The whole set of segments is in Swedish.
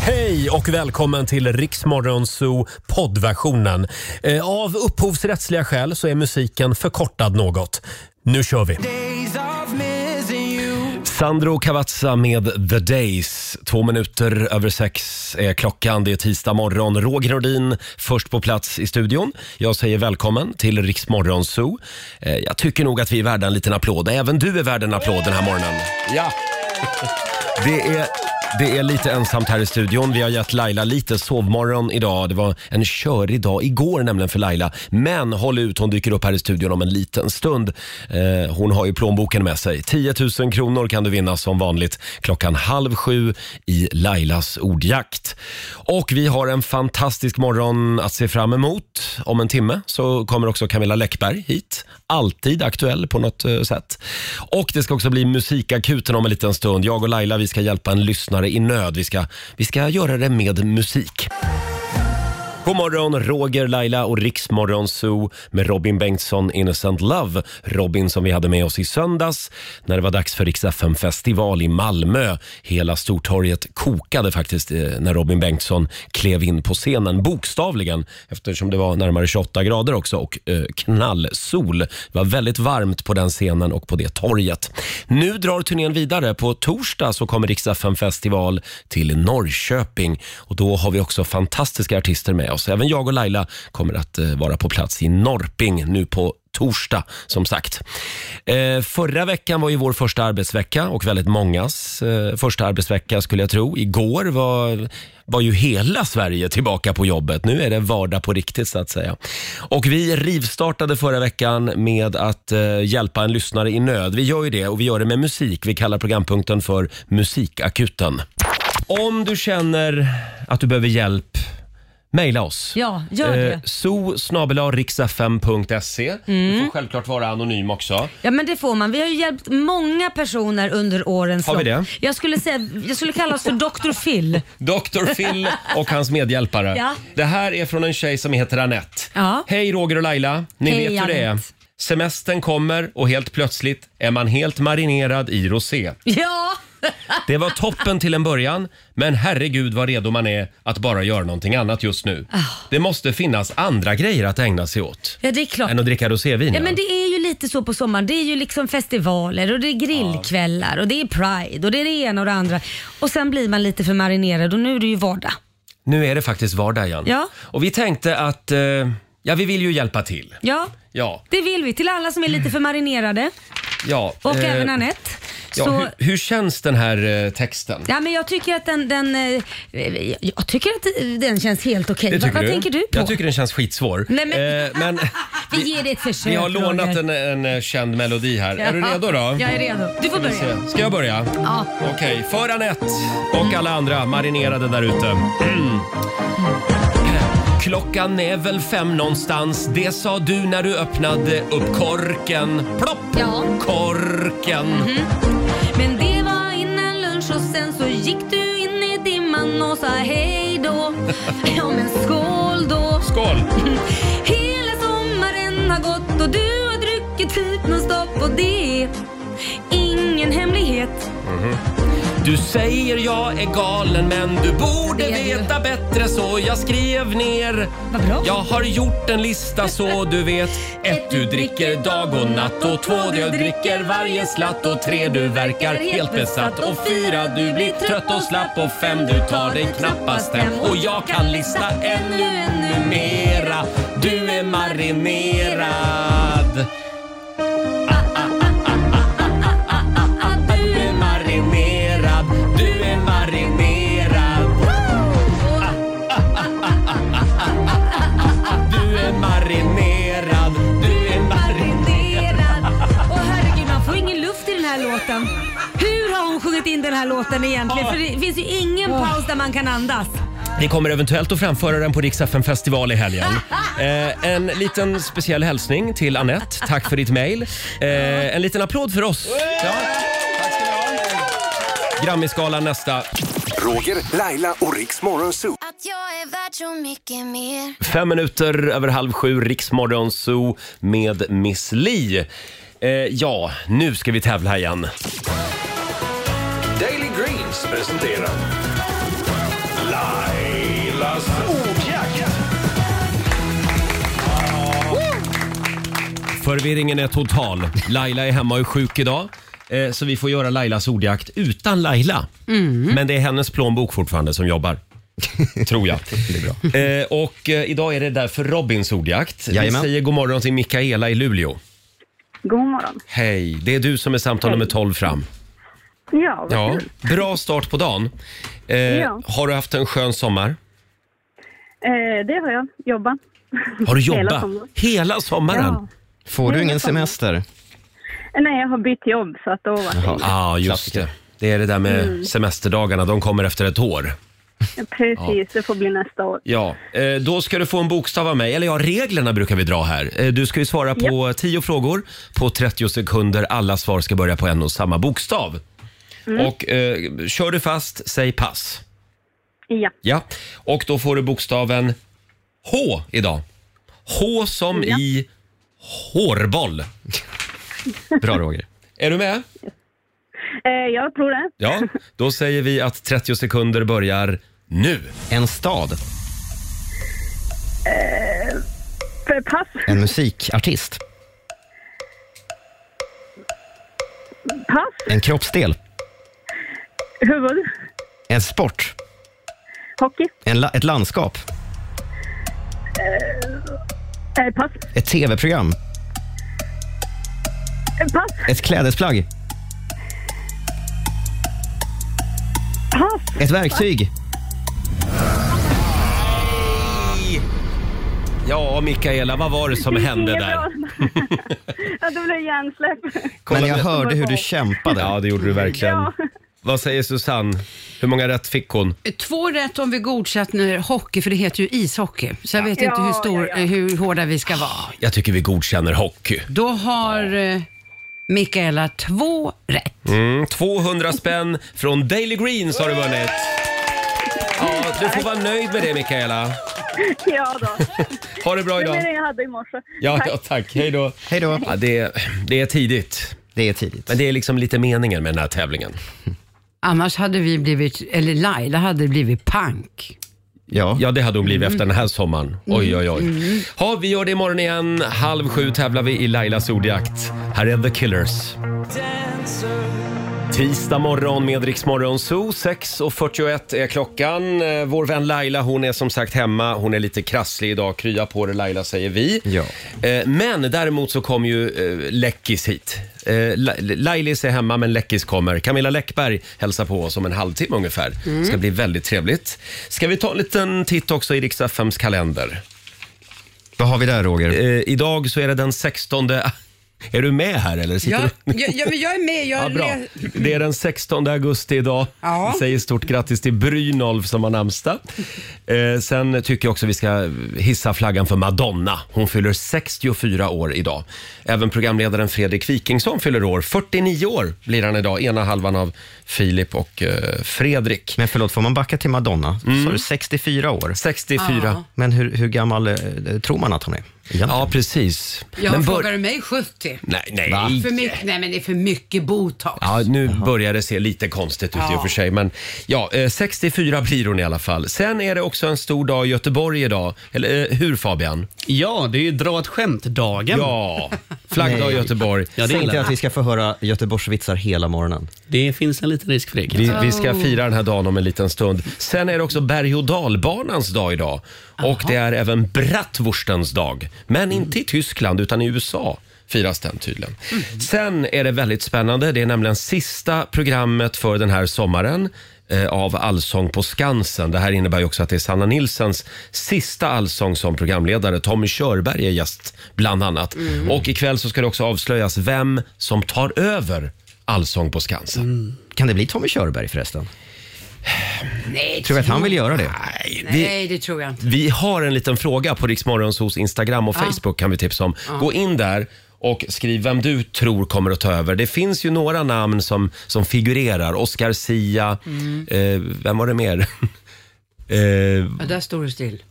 Hej och välkommen till Riksmorgonzoo poddversionen. Eh, Av upphovsrättsliga skäl så är musiken förkortad något. Nu kör vi! Sandro Cavazza med The Days. Två minuter över sex är klockan. Det är tisdag morgon. Roger Nordin först på plats i studion. Jag säger välkommen till Riksmorgon Zoo. Eh, Jag tycker nog att vi är värda en liten applåd. Även du är värd en applåd den här morgonen. Ja! Det är, det är lite ensamt här i studion. Vi har gett Laila lite sovmorgon idag. Det var en körig dag igår nämligen för Laila. Men håll ut, hon dyker upp här i studion om en liten stund. Eh, hon har ju plånboken med sig. 10 000 kronor kan du vinna som vanligt klockan halv sju i Lailas ordjakt. Och vi har en fantastisk morgon att se fram emot. Om en timme så kommer också Camilla Läckberg hit. Alltid aktuell på något eh, sätt. Och det ska också bli musikakuten om en liten stund. Jag och Laila vi ska hjälpa en lyssnare i nöd. Vi ska, vi ska göra det med musik. God morgon, Roger, Laila och Riksmorgon Zoo med Robin Bengtsson, Innocent Love. Robin som vi hade med oss i söndags när det var dags för Rix festival i Malmö. Hela Stortorget kokade faktiskt eh, när Robin Bengtsson klev in på scenen, bokstavligen eftersom det var närmare 28 grader också och eh, knallsol. Det var väldigt varmt på den scenen och på det torget. Nu drar turnén vidare. På torsdag så kommer Rix festival till Norrköping och då har vi också fantastiska artister med oss. Även jag och Laila kommer att eh, vara på plats i Norrping nu på torsdag, som sagt. Eh, förra veckan var ju vår första arbetsvecka och väldigt mångas eh, första arbetsvecka skulle jag tro. Igår var, var ju hela Sverige tillbaka på jobbet. Nu är det vardag på riktigt så att säga. Och vi rivstartade förra veckan med att eh, hjälpa en lyssnare i nöd. Vi gör ju det och vi gör det med musik. Vi kallar programpunkten för Musikakuten. Om du känner att du behöver hjälp, mejla oss. Eh, Ja, gör det. zoo.riksfm.se. Du Mm. får självklart vara anonym också. Ja men det får man. Vi har ju hjälpt många personer under årens Har vi det? Jag skulle, säga, jag skulle kalla oss för Dr. Phil. Dr. Phil och hans medhjälpare. Ja. Det här är från en tjej som heter Annette. Ja. Hej Roger och Laila. Ni Hej, vet hur det är. Annette. Semestern kommer och helt plötsligt är man helt marinerad i rosé. Ja, Det var toppen till en början, men herregud vad redo man är att bara göra någonting annat just nu. Ah. Det måste finnas andra grejer att ägna sig åt ja det är klart. än att dricka rosévin. Ja, ja. men det är ju lite så på sommaren. Det är ju liksom festivaler och det är grillkvällar och det är pride och det är det ena och det andra. Och sen blir man lite för marinerad och nu är det ju vardag. Nu är det faktiskt vardag igen. Ja. Och vi tänkte att, eh, ja vi vill ju hjälpa till. Ja, Ja, det vill vi. Till alla som är lite för marinerade ja. och eh, även Anette. ja, Så- hur, hur känns den här eh, texten? Ja, men jag tycker att den, den, eh, jag tycker att den känns helt okej. Det Vad, tycker vad tänker du på? Jag tycker den känns skitsvår. Nej, men- Eh, men Vi ger det ett försök vi har Roger. lånat en, en eh, känd melodi här. Ja. Är du redo då? Jag är redo. Du får börja. Ska jag börja? Ja. Okej, för Anette och alla andra marinerade där ute. Mm. Klockan är väl fem någonstans. Det sa du när du öppnade upp korken. Plopp! Ja. Mhm. Korken. Men det var innan lunch och sen så gick du in i dimman och sa hej då. Ja men skål då. Skål! Hela sommaren har gått och du har druckit typ nonstop och det är ingen hemlighet. Du säger jag är galen men du borde Det är du. veta bättre så jag skrev ner. Vad bra. Jag har gjort en lista så du vet. Ett du dricker dag och natt och två du dricker varje slatt och tre du verkar helt besatt och fyra du blir trött och slapp och fem du tar dig knappast hem och jag kan lista ännu, ännu mera. Du är marinerad. Ah, Du du är marinerad, du är marinerad. Du är marinerad, du är marinerad. marinerad. Åh herregud, man får ingen luft i den här låten. Hur har hon sjungit in den här låten egentligen? Ja. För det finns ju ingen paus där man kan andas. Vi kommer eventuellt att framföra den på Rix FM festival i helgen. Eh, en liten speciell hälsning till Annette. Tack för ditt mejl. Eh, en liten applåd för oss. Ja. Grammisgalan nästa. Roger, Laila och Riks Morgonzoo. Att jag är värd så mycket mer Fem minuter över halv sju, Riksmorgon Zoo med Miss Li. Eh, ja, nu ska vi tävla igen. Daily Greens presenterar Lailas ordjakt! Förvirringen är total. Laila är hemma och är sjuk idag. Eh, Så vi får göra Lailas ordjakt utan Laila. Men det är hennes plånbok fortfarande som jobbar. Tror jag. Eh, och eh, idag är det därför Robins ordjakt. Jajamän. Vi säger god morgon till Mikaela i Luleå. God morgon. Hej, det är du som är samtal nummer 12 fram. Ja, vad Ja, kul. bra start på dagen. Eh, Ja. Har du haft en skön sommar? Eh, det har jag. Jobba. Har du jobbat? Hela sommaren. Hela sommaren? Ja. Får du Nej, ingen jag kommer. semester? Eh, Nej, jag har bytt jobb så att då var det Jaha. Ja, just det. Det är det där med Mm. semesterdagarna, de kommer efter ett år. Precis, det får bli nästa år. Ja, eh, då ska du få en bokstav av mig. Eller ja, reglerna brukar vi dra här. Eh, Du ska ju svara på 10 frågor på 30 sekunder. Alla svar ska börja på en och samma bokstav. Och eh, kör du fast, säg pass. Ja. Ja, och då får du bokstaven H idag. H som i hårboll. Bra Roger. Är du med? Eh, jag tror det. Ja, då säger vi att 30 sekunder börjar nu. En stad. För Eh, pass. En musikartist. Pass. En kroppsdel. Huvud. En sport. Hockey. En la- ett landskap. Eh, pass. Ett tv-program. Eh, pass. Ett klädesplagg. Pass. Ett verktyg. Ja, Mikaela, vad var det som Det gick hände inget där? bra. ja, det blev hjärnsläpp. Men jag med- hörde hur du kämpade. Ja, det gjorde du verkligen. Ja. Vad säger Susanne? Hur många rätt fick hon? Två rätt om vi godkänner hockey, för det heter ju ishockey. Så jag vet inte Ja, hur, stor, ja, ja. eh, hur hårda vi ska vara. Jag tycker vi godkänner hockey. Då har eh, Mikaela två rätt. Mm, 200 spänn från Daily Greens har du vunnit. Ja, du får vara nöjd med det, Mikaela. ja då. Ha det bra Det var idag. det jag hade i morse. Ja, Tack. ja tack. Hej då. Hej då. Ja, det, är- det är tidigt, Det är tidigt. men det är liksom lite meningen med den här tävlingen. Annars hade vi blivit, eller Laila hade blivit pank. Ja. Ja, det hade hon blivit efter den här sommaren. Mm. Oj, oj, oj. Ja, vi gör det imorgon igen. Halv sju tävlar vi i Lailas ordjakt. Här är The Killers. Tisdag morgon med Rix Morgon Zoo. 6.41 är klockan. Eh, Vår vän Laila hon är som sagt hemma. Hon är lite krasslig idag. Krya på dig Laila säger vi. Ja. Eh, Men däremot så kom ju eh, Läckis hit. Eh, La- Lailis är hemma men Läckis kommer. Camilla Läckberg hälsar på oss om en halvtimme ungefär. Det ska bli väldigt trevligt. Ska vi ta en liten titt också i Rix FMs kalender? Vad har vi där Roger? Eh, idag så är det den 16... Är du med här eller? Sitter Ja, du? ja, ja, men jag är med. Jag Ja, bra. lä- Det är den 16 augusti idag. Ja. Vi säger stort grattis till Brynolf som har namnsdag. Eh, sen tycker jag också vi ska hissa flaggan för Madonna. Hon fyller 64 år idag. Även programledaren Fredrik Wikingsson fyller år. 49 år blir han idag, ena halvan av Filip och eh, Fredrik. Men förlåt, får man backa till Madonna? Mm. Sa du 64 år? 64. Men hur, hur gammal eh, tror man att hon är? Egentligen? Ja, precis. Jag Men bör- frågar du mig 70? Nej, Va? nej. För mycket, nej men det är för mycket botox. Ja, nu börjar det se lite konstigt ut i och för sig. Men ja, eh, 64 blir hon i alla fall. Sen är det också en stor dag i Göteborg idag. Eller eh, hur Fabian? Ja, det är ju dra ett skämt-dagen. Ja, flaggdag i Göteborg. Ja, det Säg gillar inte jag. att vi ska få höra Göteborgsvitsar hela morgonen. Det finns en liten risk för det kan jag Vi, säga. vi ska fira den här dagen om en liten stund. Sen är det också berg och dalbanans dag idag. Och det är även bratwurstens dag. Men inte i Tyskland utan i USA firas den tydligen. Sen är det väldigt spännande. Det är nämligen sista programmet för den här sommaren eh, av Allsång på Skansen. Det här innebär ju också att det är Sanna Nilssons sista allsång som programledare. Tommy Körberg är gäst bland annat. Och ikväll så ska det också avslöjas vem som tar över Allsång på Skansen. Kan det bli Tommy Körberg förresten? Nej, Tror du att han vill göra det? nej, det tror jag inte. Vi har en liten fråga på Riksmorgonsos Instagram och Facebook kan vi tipsa om. Gå in där och skriv vem du tror kommer att ta över. Det finns ju några namn som, som figurerar. Oscar Sia, eh, vem var det mer? eh, Ja, där står du still.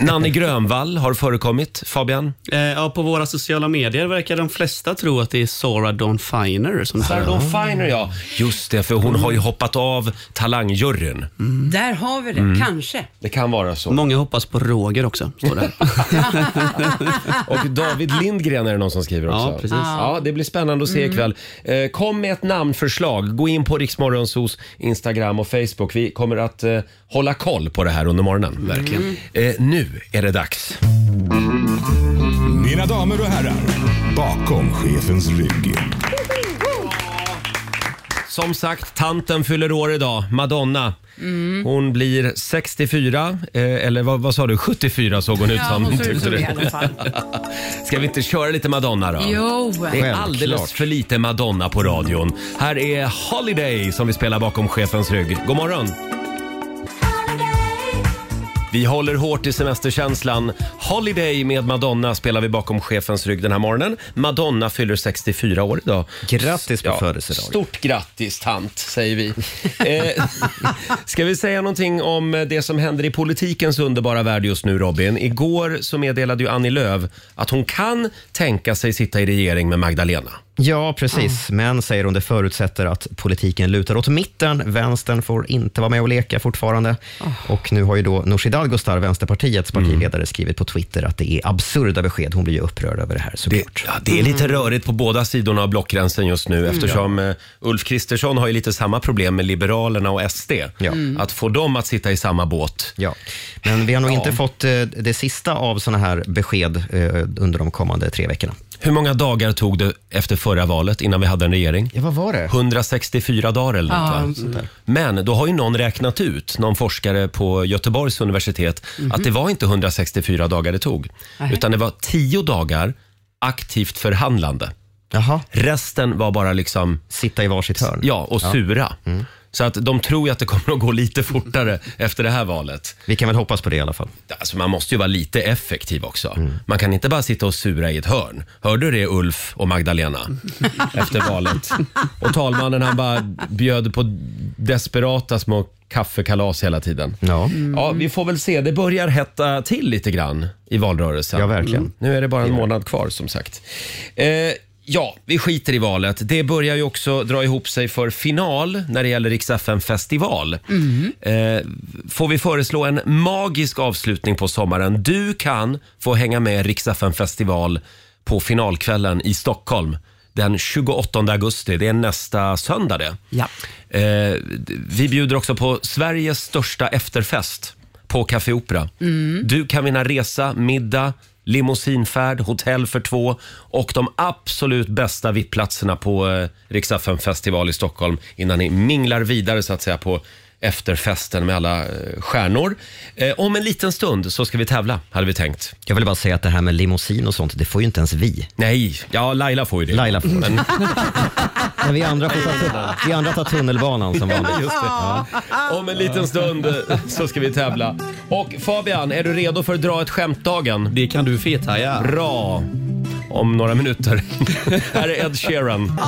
Nanne Grönvall har förekommit. Fabian? Eh, ja, på våra sociala medier verkar de flesta tro att det är Sara Dawn Finer som Sarah Dawn Finer, ja. Just det, för hon har ju hoppat av talangjuryn. Där har vi det, kanske. Det kan vara så. Många hoppas på Roger också, står det här. Och David Lindgren är det någon som skriver också. Ja, precis. Ja, det blir spännande att se Mm. ikväll. Eh, kom med ett namnförslag. Gå in på Riksmorgonsos Instagram och Facebook. Vi kommer att eh, hålla koll på det här under Mm. morgonen. Verkligen. Eh, nu är det dags. Mina damer och herrar, bakom chefens rygg. Som sagt, tanten fyller år idag, Madonna. Mm. Hon blir 64, eh, eller vad, vad sa du, 74 såg hon ut Ja, som. hon ser ut tyckte som du. det i alla fall. Ska vi inte köra lite Madonna då? Jo. Det är Självklart. alldeles för lite Madonna på radion. Här är Holiday som vi spelar bakom chefens rygg. God morgon! Vi håller hårt i semesterkänslan. Holiday med Madonna spelar vi bakom chefens rygg den här morgonen. Madonna fyller 64 år idag. Grattis på födelsedagen. Stort grattis tant, säger vi. Eh, ska vi säga någonting om det som händer i politikens underbara värld just nu Robin? Igår så meddelade ju Annie Lööf att hon kan tänka sig sitta i regering med Magdalena. Ja, precis. Men, säger hon, det förutsätter att politiken lutar åt mitten. Vänstern får inte vara med och leka fortfarande. Och nu har ju då Nooshi Dadgostar, Vänsterpartiets partiledare, skrivit på Twitter att det är absurda besked. Hon blir ju upprörd över det här Det, såklart. ja, det är lite Mm. rörigt på båda sidorna av blockgränsen just nu eftersom eh, Ulf Kristersson har ju lite samma problem med Liberalerna och SD. Ja. Mm. Att få dem att sitta i samma båt. Ja, men vi har nog inte fått eh, det sista av såna här besked eh, under de kommande tre veckorna. Hur många dagar tog det efter förra valet innan vi hade en regering? Ja, vad var det? 164 dagar eller något, Ja, va? något sånt Men då har ju någon räknat ut, någon forskare på Göteborgs universitet, Mhm. att det var inte 164 dagar det tog. Utan det var 10 dagar aktivt förhandlande. Jaha, Resten var bara liksom, sitta i varsitt hörn. ja, och sura. Så att de tror ju att det kommer att gå lite fortare efter det här valet. Vi kan väl hoppas på det i alla fall. Alltså man måste ju vara lite effektiv också. Man kan inte bara sitta och sura i ett hörn. Hörde du det Ulf och Magdalena? Efter valet. Och talmannen han bara bjöd på desperata små kaffekalas hela tiden. Ja, Ja, vi får väl se. Det börjar hetta till lite grann i valrörelsen. Ja, verkligen. Mm. Nu är det bara en månad kvar som sagt. Eh, ja, vi skiter i valet. Det börjar ju också dra ihop sig för final när det gäller Rix FM festival. Eh, får vi föreslå en magisk avslutning på sommaren? Du kan få hänga med Rix FM festival på finalkvällen i Stockholm den 28 augusti. Det är nästa söndag det. Ja. Eh, d- vi bjuder också på Sveriges största efterfest på Café Opera. Du kan vinna resa, middag, limousinfärd, hotell för två och de absolut bästa VIP-platserna på eh, Rix FM festival i Stockholm innan ni minglar vidare så att säga på efterfesten med alla eh, stjärnor. Eh, om en liten stund så ska vi tävla, hade vi tänkt. jag vill bara säga att det här med limousin och sånt, det får ju inte ens vi. Nej, ja Laila får ju det. Laila får Men- Men Mm. vi andra, får ta tunnel, vi andra tar tunnelbanan som vanligt. Just det. Om en liten stund eh, så ska vi tävla. Och Fabian, är du redo för att dra ett skämtdagen? Det kan du fethaja. Bra! Om några minuter. Här är Ed Sheeran.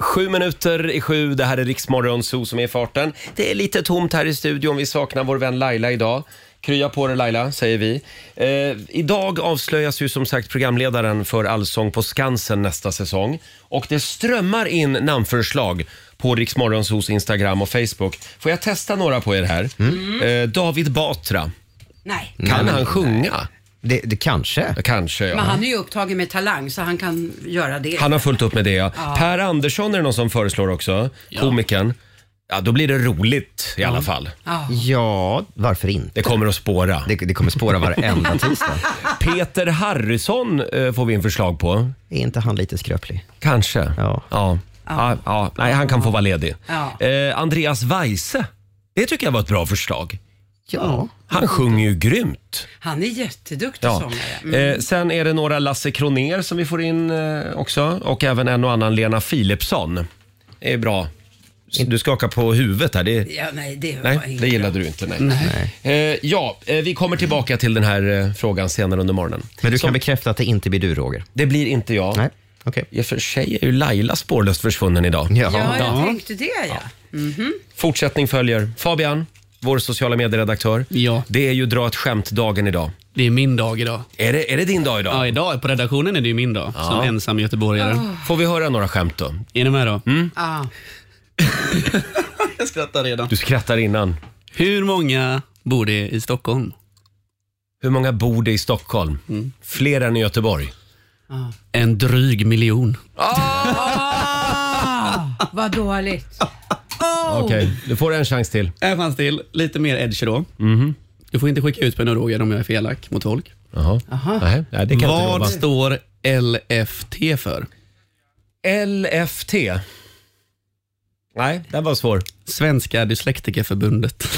Sju minuter i sju, det här är Riksmorgon Zoo som är i farten. Det är lite tomt här i studion, vi saknar vår vän Laila idag. Krya på dig Laila, säger vi. Eh, idag avslöjas ju som sagt programledaren för Allsång på Skansen nästa säsong. Och det strömmar in namnförslag på Riksmorgonsos Instagram och Facebook. Får jag testa några på er här? Eh, David Batra. Nej. Kan han sjunga? Det, det kanske. Kanske, ja. Men han är ju upptagen med talang så han kan göra det. Han har fullt upp med det, ja. Per Andersson är det någon som föreslår också, komikern. Ja, då blir det roligt i alla fall. Ja, varför inte? Det kommer att spåra. Det, det kommer spåra varenda tisdag. Peter Harrison eh, får vi en förslag på. Är inte han lite skröplig? Kanske. Ja. Ja. Ja, ja. Nej, han kan få vara ledig. Ja. Eh, Andreas Weise. Det tycker jag var ett bra förslag. Ja. Han sjunger ju grymt. Han är jätteduktig Ja. sångare. Eh, sen är det några Lasse Kroner som vi får in eh, också och även en och annan Lena Philipsson. Det är bra. Du skakar på huvudet här. Det är... Ja, nej, det var Nej, inte det bra. gillade du inte. Nej. Eh, ja, eh, vi kommer tillbaka till den här eh, frågan senare under morgonen. Men du Som- kan bekräfta att det inte blir du, Roger? Det blir inte jag. Nej, okej. I och för sig är ju Laila spårlöst försvunnen idag. Ja, Ja. jag tänkte det ja. Fortsättning följer. Fabian, vår sociala medieredaktör. Ja. Det är ju dra ett skämt-dagen idag. Det är min dag idag. Är det, är det din dag idag? Ja, idag på redaktionen är det ju min dag som ensam göteborgare. Får vi höra några skämt då? Är ni med då? Ah. Jag skrattar redan. Du skrattar innan. Hur många bor det i Stockholm? Hur många bor det i Stockholm? Mm. Fler än i Göteborg. En dryg miljon. Ah, vad dåligt. Okej, du får en chans till. Här fanns till lite mer edge då. Mhm. Du får inte skicka ut mig nu Roger om jag är för elak mot folk. Jaha. Nej, nej, det kan inte Vad lova. står LFT för? LFT. Nej, den var svår. Svenska Dyslektikerförbundet.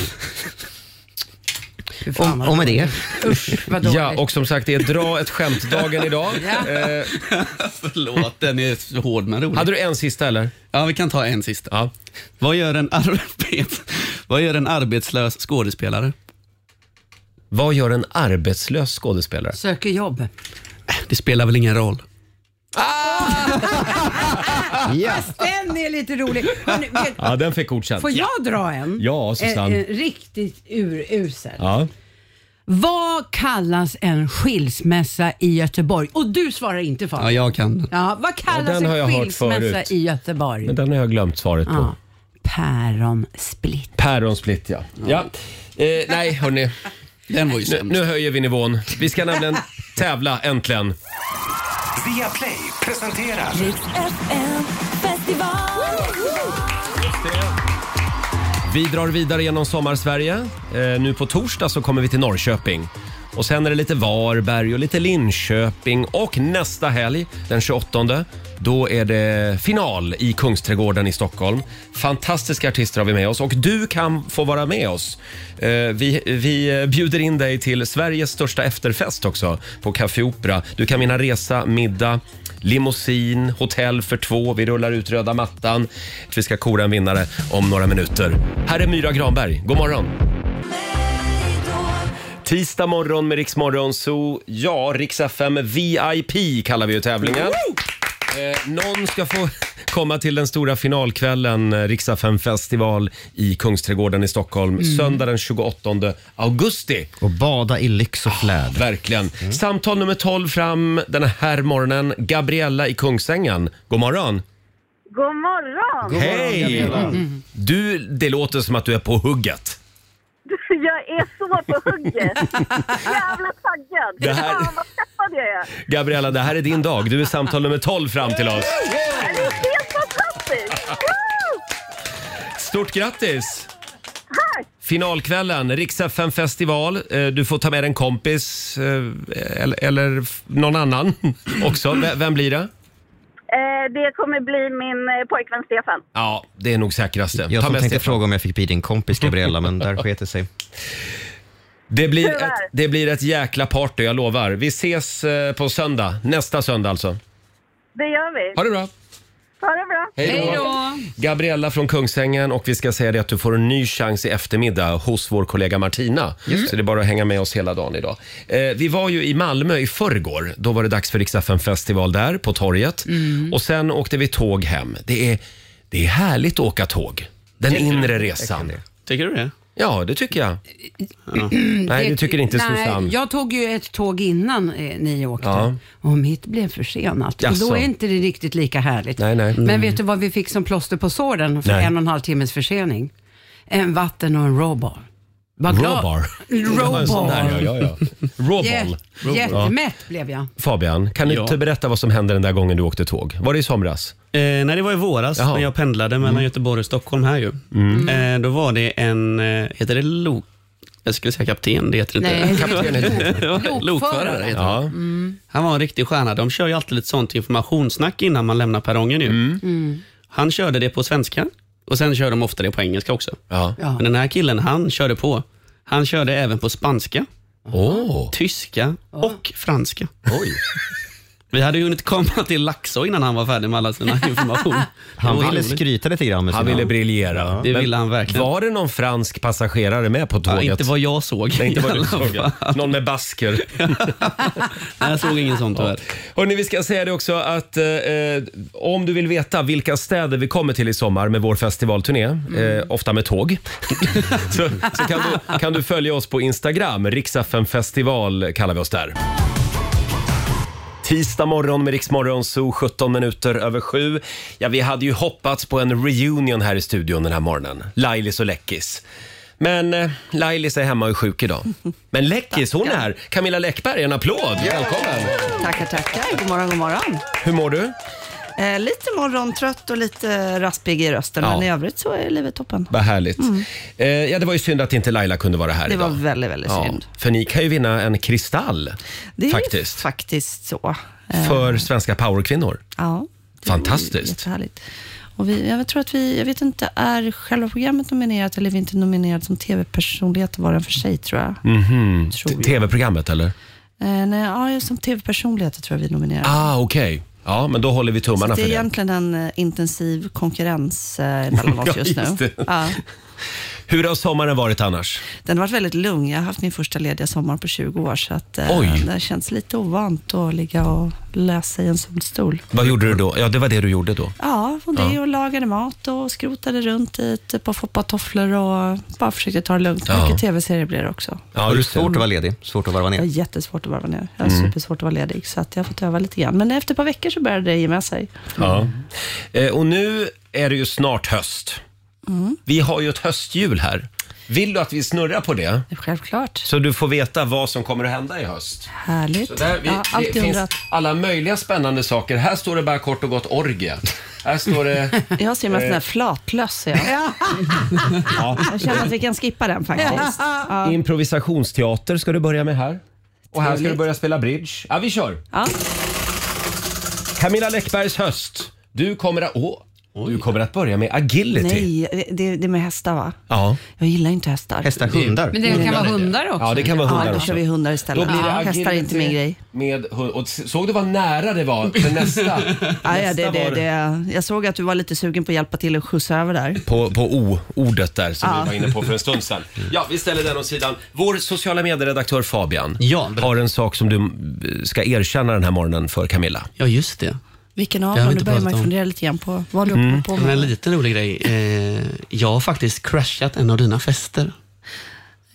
Fy fan, Och, vad och med det, dåligt. Usch, vad dåligt. Ja, och som sagt, det är dra ett skämt-dagen idag. eh, Förlåt, den är så hård men rolig. hade du en sista eller? Ja, vi kan ta en sista. Ja. Vad, gör en arbet... Vad gör en arbetslös skådespelare? Vad gör en arbetslös skådespelare? Söker jobb. Det spelar väl ingen roll. ja. Den är lite rolig. Hörrni, vet- Ja, den fick godkänt. Får jag dra en? Ja, Susanne. En, en riktigt urusel. Ja. Vad kallas en skilsmässa i Göteborg? Och du svarar inte Fabian. Ja, jag kan. Ja, vad Ja, kallas den har jag en hört skilsmässa förut. i Göteborg? Men den har jag glömt svaret på. Ja. Päronsplitt. Päronsplitt ja. ja. Eh, nej hörni, Den var ju nu, sämst. nu höjer vi nivån. Vi ska nämligen tävla äntligen. Via Play presenterar FM festival. Vi drar vidare genom sommarsverige. Eh, nu på torsdag så kommer vi till Norrköping. Och sen är det lite Varberg och lite Linköping och nästa helg, den 28, då är det final i Kungsträdgården i Stockholm. Fantastiska artister har vi med oss och du kan få vara med oss. Eh, vi, vi eh, bjuder in dig till Sveriges största efterfest också på Café Opera. Du kan vinna resa, middag, limousin, hotell för två. Vi rullar ut röda mattan. Vi ska kora en vinnare om några minuter. Här är Myra Granberg. God morgon! Tisdag morgon med Rix Morgon Zoo. Ja, Rix FM VIP kallar vi ju tävlingen. Eh, någon ska få komma till den stora finalkvällen, eh, Rix FM festival i Kungsträdgården i Stockholm, söndag den 28 augusti. Och bada i lyx och flärd. Verkligen. Samtal nummer 12 fram den här morgonen. Gabriella i Kungsängen. God morgon. God morgon! Hej! Mm. Du, det låter som att du är på hugget. Jag är så på hugget. Jävla taggad. Det här- Fan vad peppad jag är. Gabriella, det här är din dag. Du är samtal nummer 12 fram till oss. Det är helt fantastiskt. Woo! Stort grattis! Tack! Finalkvällen, Rix FM festival. Eh, Du får ta med en kompis eh, eller, eller f- någon annan också. V- Vem blir det? Eh, det kommer bli min eh, pojkvän Stefan. Ja, det är nog säkraste. Jag Ta som med tänkte Stefan. fråga om jag fick bli din kompis Gabriella, men där sket det sig. Det blir, Tyvärr. ett, det blir ett jäkla party, jag lovar. Vi ses eh, på söndag. Nästa söndag alltså. Det gör vi. Ha det bra! Ha det bra. Hej då! Gabriella från Kungsängen och vi ska säga det att du får en ny chans i eftermiddag hos vår kollega Martina. Så det är bara att hänga med oss hela dagen idag. Eh, vi var ju i Malmö i förrgår. Då var det dags för Riksdagen festival där på torget. Mm. Och sen åkte vi tåg hem. Det är, det är härligt att åka tåg. Den inre resan. Tycker du det? Ja, det tycker jag. Nej, det tycker inte nej, Susanne. Jag tog ju ett tåg innan eh, ni åkte Ja. och mitt blev försenat. Och Jaså. då är inte det riktigt lika härligt. Nej, nej. Mm. Men vet du vad vi fick som plåster på såren för Nej. en och en halv timmes försening? En vatten och en råbar. Var glad- Rawbar. Rawbar. Ja, ja, ja. Rawball. Jä- Jättemätt blev jag. Fabian, kan du Ja. inte berätta vad som hände den där gången du åkte tåg? Var det i somras? Eh, nej, det var i våras Jaha. när jag pendlade mellan Göteborg och Stockholm här ju. Mm. Eh, då var det en, eh, heter det lok... Jag skulle säga kapten, det heter det Nej, inte. Kaptenen- Det var Lokförare heter han. Ja. Han var en riktig stjärna. De kör ju alltid lite sånt informationssnack innan man lämnar perrongen ju. Mm. Han körde det på svenska och sen kör de ofta det på engelska också. Ja. Ja. Men den här killen, han körde på. Han körde även på spanska, Åh, tyska och franska. oj. Vi hade ju hunnit komma till Laxå innan han var färdig med alla sina information. Han Det var ville roligt. skryta lite grann med Han sina- ville briljera. Det Men ville han verkligen. Var det någon fransk passagerare med på tåget? inte vad jag såg. Nej, inte vad I du alla såg. ja. Någon med basker. Nej, jag såg ingen sån Ja. tyvärr. Hörrni, vi ska säga det också att eh, eh, om du vill veta vilka städer vi kommer till i sommar med vår festivalturné, eh, ofta med tåg, så, så kan, du, kan du följa oss på Instagram. Riksfn festival kallar vi oss där. Tisdag morgon med Riksmorgon Zoo, 17 minuter över sju. Ja, vi hade ju hoppats på en reunion här i studion den här morgonen. Lailis och Läckis. Men eh, Lailis är hemma och är sjuk idag. Men Läckis, hon är här. Camilla Läckberg, en applåd! Välkommen! Tackar, tackar. God morgon, god morgon. Hur mår du? Eh, lite morgontrött och lite raspig i rösten, Ja. men i övrigt så är livet toppen. Vad härligt. Mm. Eh, ja, det var ju synd att inte Laila kunde vara här Det idag. var väldigt, väldigt synd. För ni kan ju vinna en kristall. Det är faktiskt. faktiskt så. Eh, För svenska powerkvinnor. Ja. det är Fantastiskt. Jättehärligt. Och vi, jag tror att vi, jag vet inte, är själva programmet nominerat eller är vi inte nominerat som tv-personlighet var och för sig tror jag. Mhm. Tv-programmet eller? Eh, nej, ja, som tv-personlighet tror jag vi är nominerade. Ah, okej. Ja, men då håller vi Så tummarna det är för det. egentligen en eh, intensiv konkurrens eh, mellan Ja, oss just just nu. det. Ja. Hur har sommaren varit annars? Den har varit väldigt lugn. Jag har haft min första lediga sommar på 20 år, så att, eh, Oj. det känns lite ovant att ligga och läsa i en solstol. Vad gjorde du då? Ja, det var det du gjorde då. Ja, och det Ja. och lagade mat och skrotade runt i ett par foppatofflor och bara försökte ta det lugnt. Ja. Mycket tv-serier blir det också. Ja, var det just det. svårt att vara ledig? Svårt att varva Jag har ner? jättesvårt att varva ner. Jag har Mm. supersvårt att vara ledig, så att jag har fått öva lite grann. Men efter ett par veckor så började det ge med sig. Ja. Eh, och nu är det ju snart höst. Mm. Vi har ju ett höstjul här. Vill du att vi snurrar på det? Självklart. Så du får veta vad som kommer att hända i höst. Härligt. Så där, vi, ja, det alltid finns undrat. alla möjliga spännande saker. Här står det bara kort och gott orgie. Här står det... Jag ser mig som en sån Eh. här flatlöss. är Jag. Ja. jag känner att vi kan skippa den faktiskt. Ja. Improvisationsteater ska du börja med här. Och här ska Trevligt. du börja spela bridge. Ja, vi kör. Ja. Camilla Läckbergs höst. Du kommer att... Åh, du kommer att börja med agility. Nej, det- det, det är med hästar va? Ja. Jag gillar inte hästar. Hästar, hundar. Men det Mm. kan vara hundar också. Ja, det kan vara hundar Ja, då också. kör vi hundar istället. Då blir det ja, hästar är inte min agility grej. Med, hund- och såg du vad nära det var för nästa? Ja, ja, det, nästa det, var- det. Jag såg att du var lite sugen på att hjälpa till och skjutsa över där. På, på O-ordet där som Ja. vi var inne på för en stund sedan. Ja, vi ställer den åt sidan. Vår sociala medieredaktör Fabian har en sak som du eh, ska erkänna den här morgonen för Camilla. Ja, just det. Vilken Det av har vi dem? Nu inte börjar man ju pratat om. fundera lite grann på vad du mm. på Men en med. liten rolig grej. Eh, jag har faktiskt crashat en av dina fester.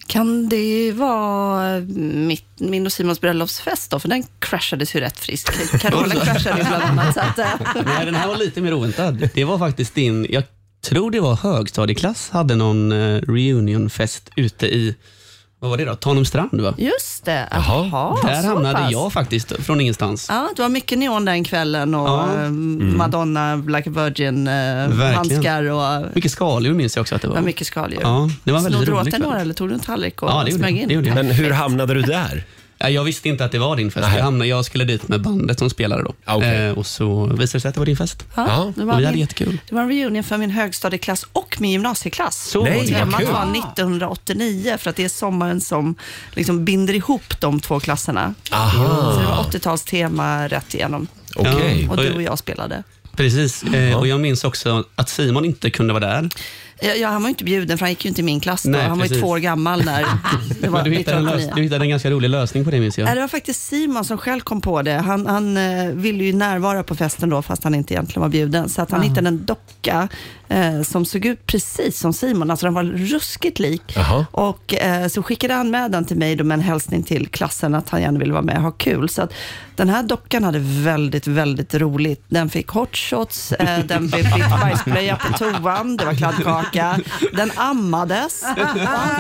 Kan det vara eh, mitt, min och Simons bröllopsfest då? För den crashades ju rätt friskt. Carola crashade ju bland annat. Så att, eh. Nej, den här var lite mer oväntad. Det var faktiskt din, jag tror det var högstadieklass, hade någon eh, reunionfest ute i, vad var det då? Tanumstrand va? Just det. Jaha, Där så hamnade pass. jag faktiskt, från ingenstans. Ja, det var mycket neon den kvällen och Ja. Mm. eh, Madonna, Black Virgin, eh, handskar och eh, Mycket skaldjur minns jag också att det var. Ja, mycket skaldjur. Ja, det var en väldigt Snodde du åt rolig dig kväll. några eller tog du en tallrik och Ja, det gjorde, smög jag. in? det gjorde jag. Men hur hamnade du där? Ja, Jag visste inte att det var din fest. Jag, hamnade, jag skulle dit med bandet som spelade då. Eh, och så visade det sig att det var din fest. Ja, det var och vi hade min- jättekul. Det var en reunion för min högstadieklass och min gymnasieklass. Så Nej, vad Temat kul. var 1989 för att det är sommaren som liksom binder ihop de två klasserna. Aha. Så det var 80-talstema rätt igenom. Okej. Och du och jag spelade. Precis, eh, och jag minns också att Simon inte kunde vara där. Ja, ja, han var ju inte bjuden för han gick ju inte i min klass då. Nej, han var ju precis. två år gammal när det var Men du, hittade en lös- 1989. du hittade en ganska rolig lösning på det minns jag. Nej, Det var faktiskt Simon som själv kom på det. Han, han eh, ville ju närvara på festen då, fast han inte egentligen var bjuden. Så att han Aha. hittade en docka eh, som såg ut precis som Simon. Alltså den var ruskigt lik. Jaha. Och eh, så skickade han med den till mig då med en hälsning till klassen att han gärna ville vara med och ha kul. Så att den här dockan hade väldigt, väldigt roligt. Den fick hotshots, eh, den blev bytt bajsblöja på toan, det var kladdkaka, den ammades. Och allt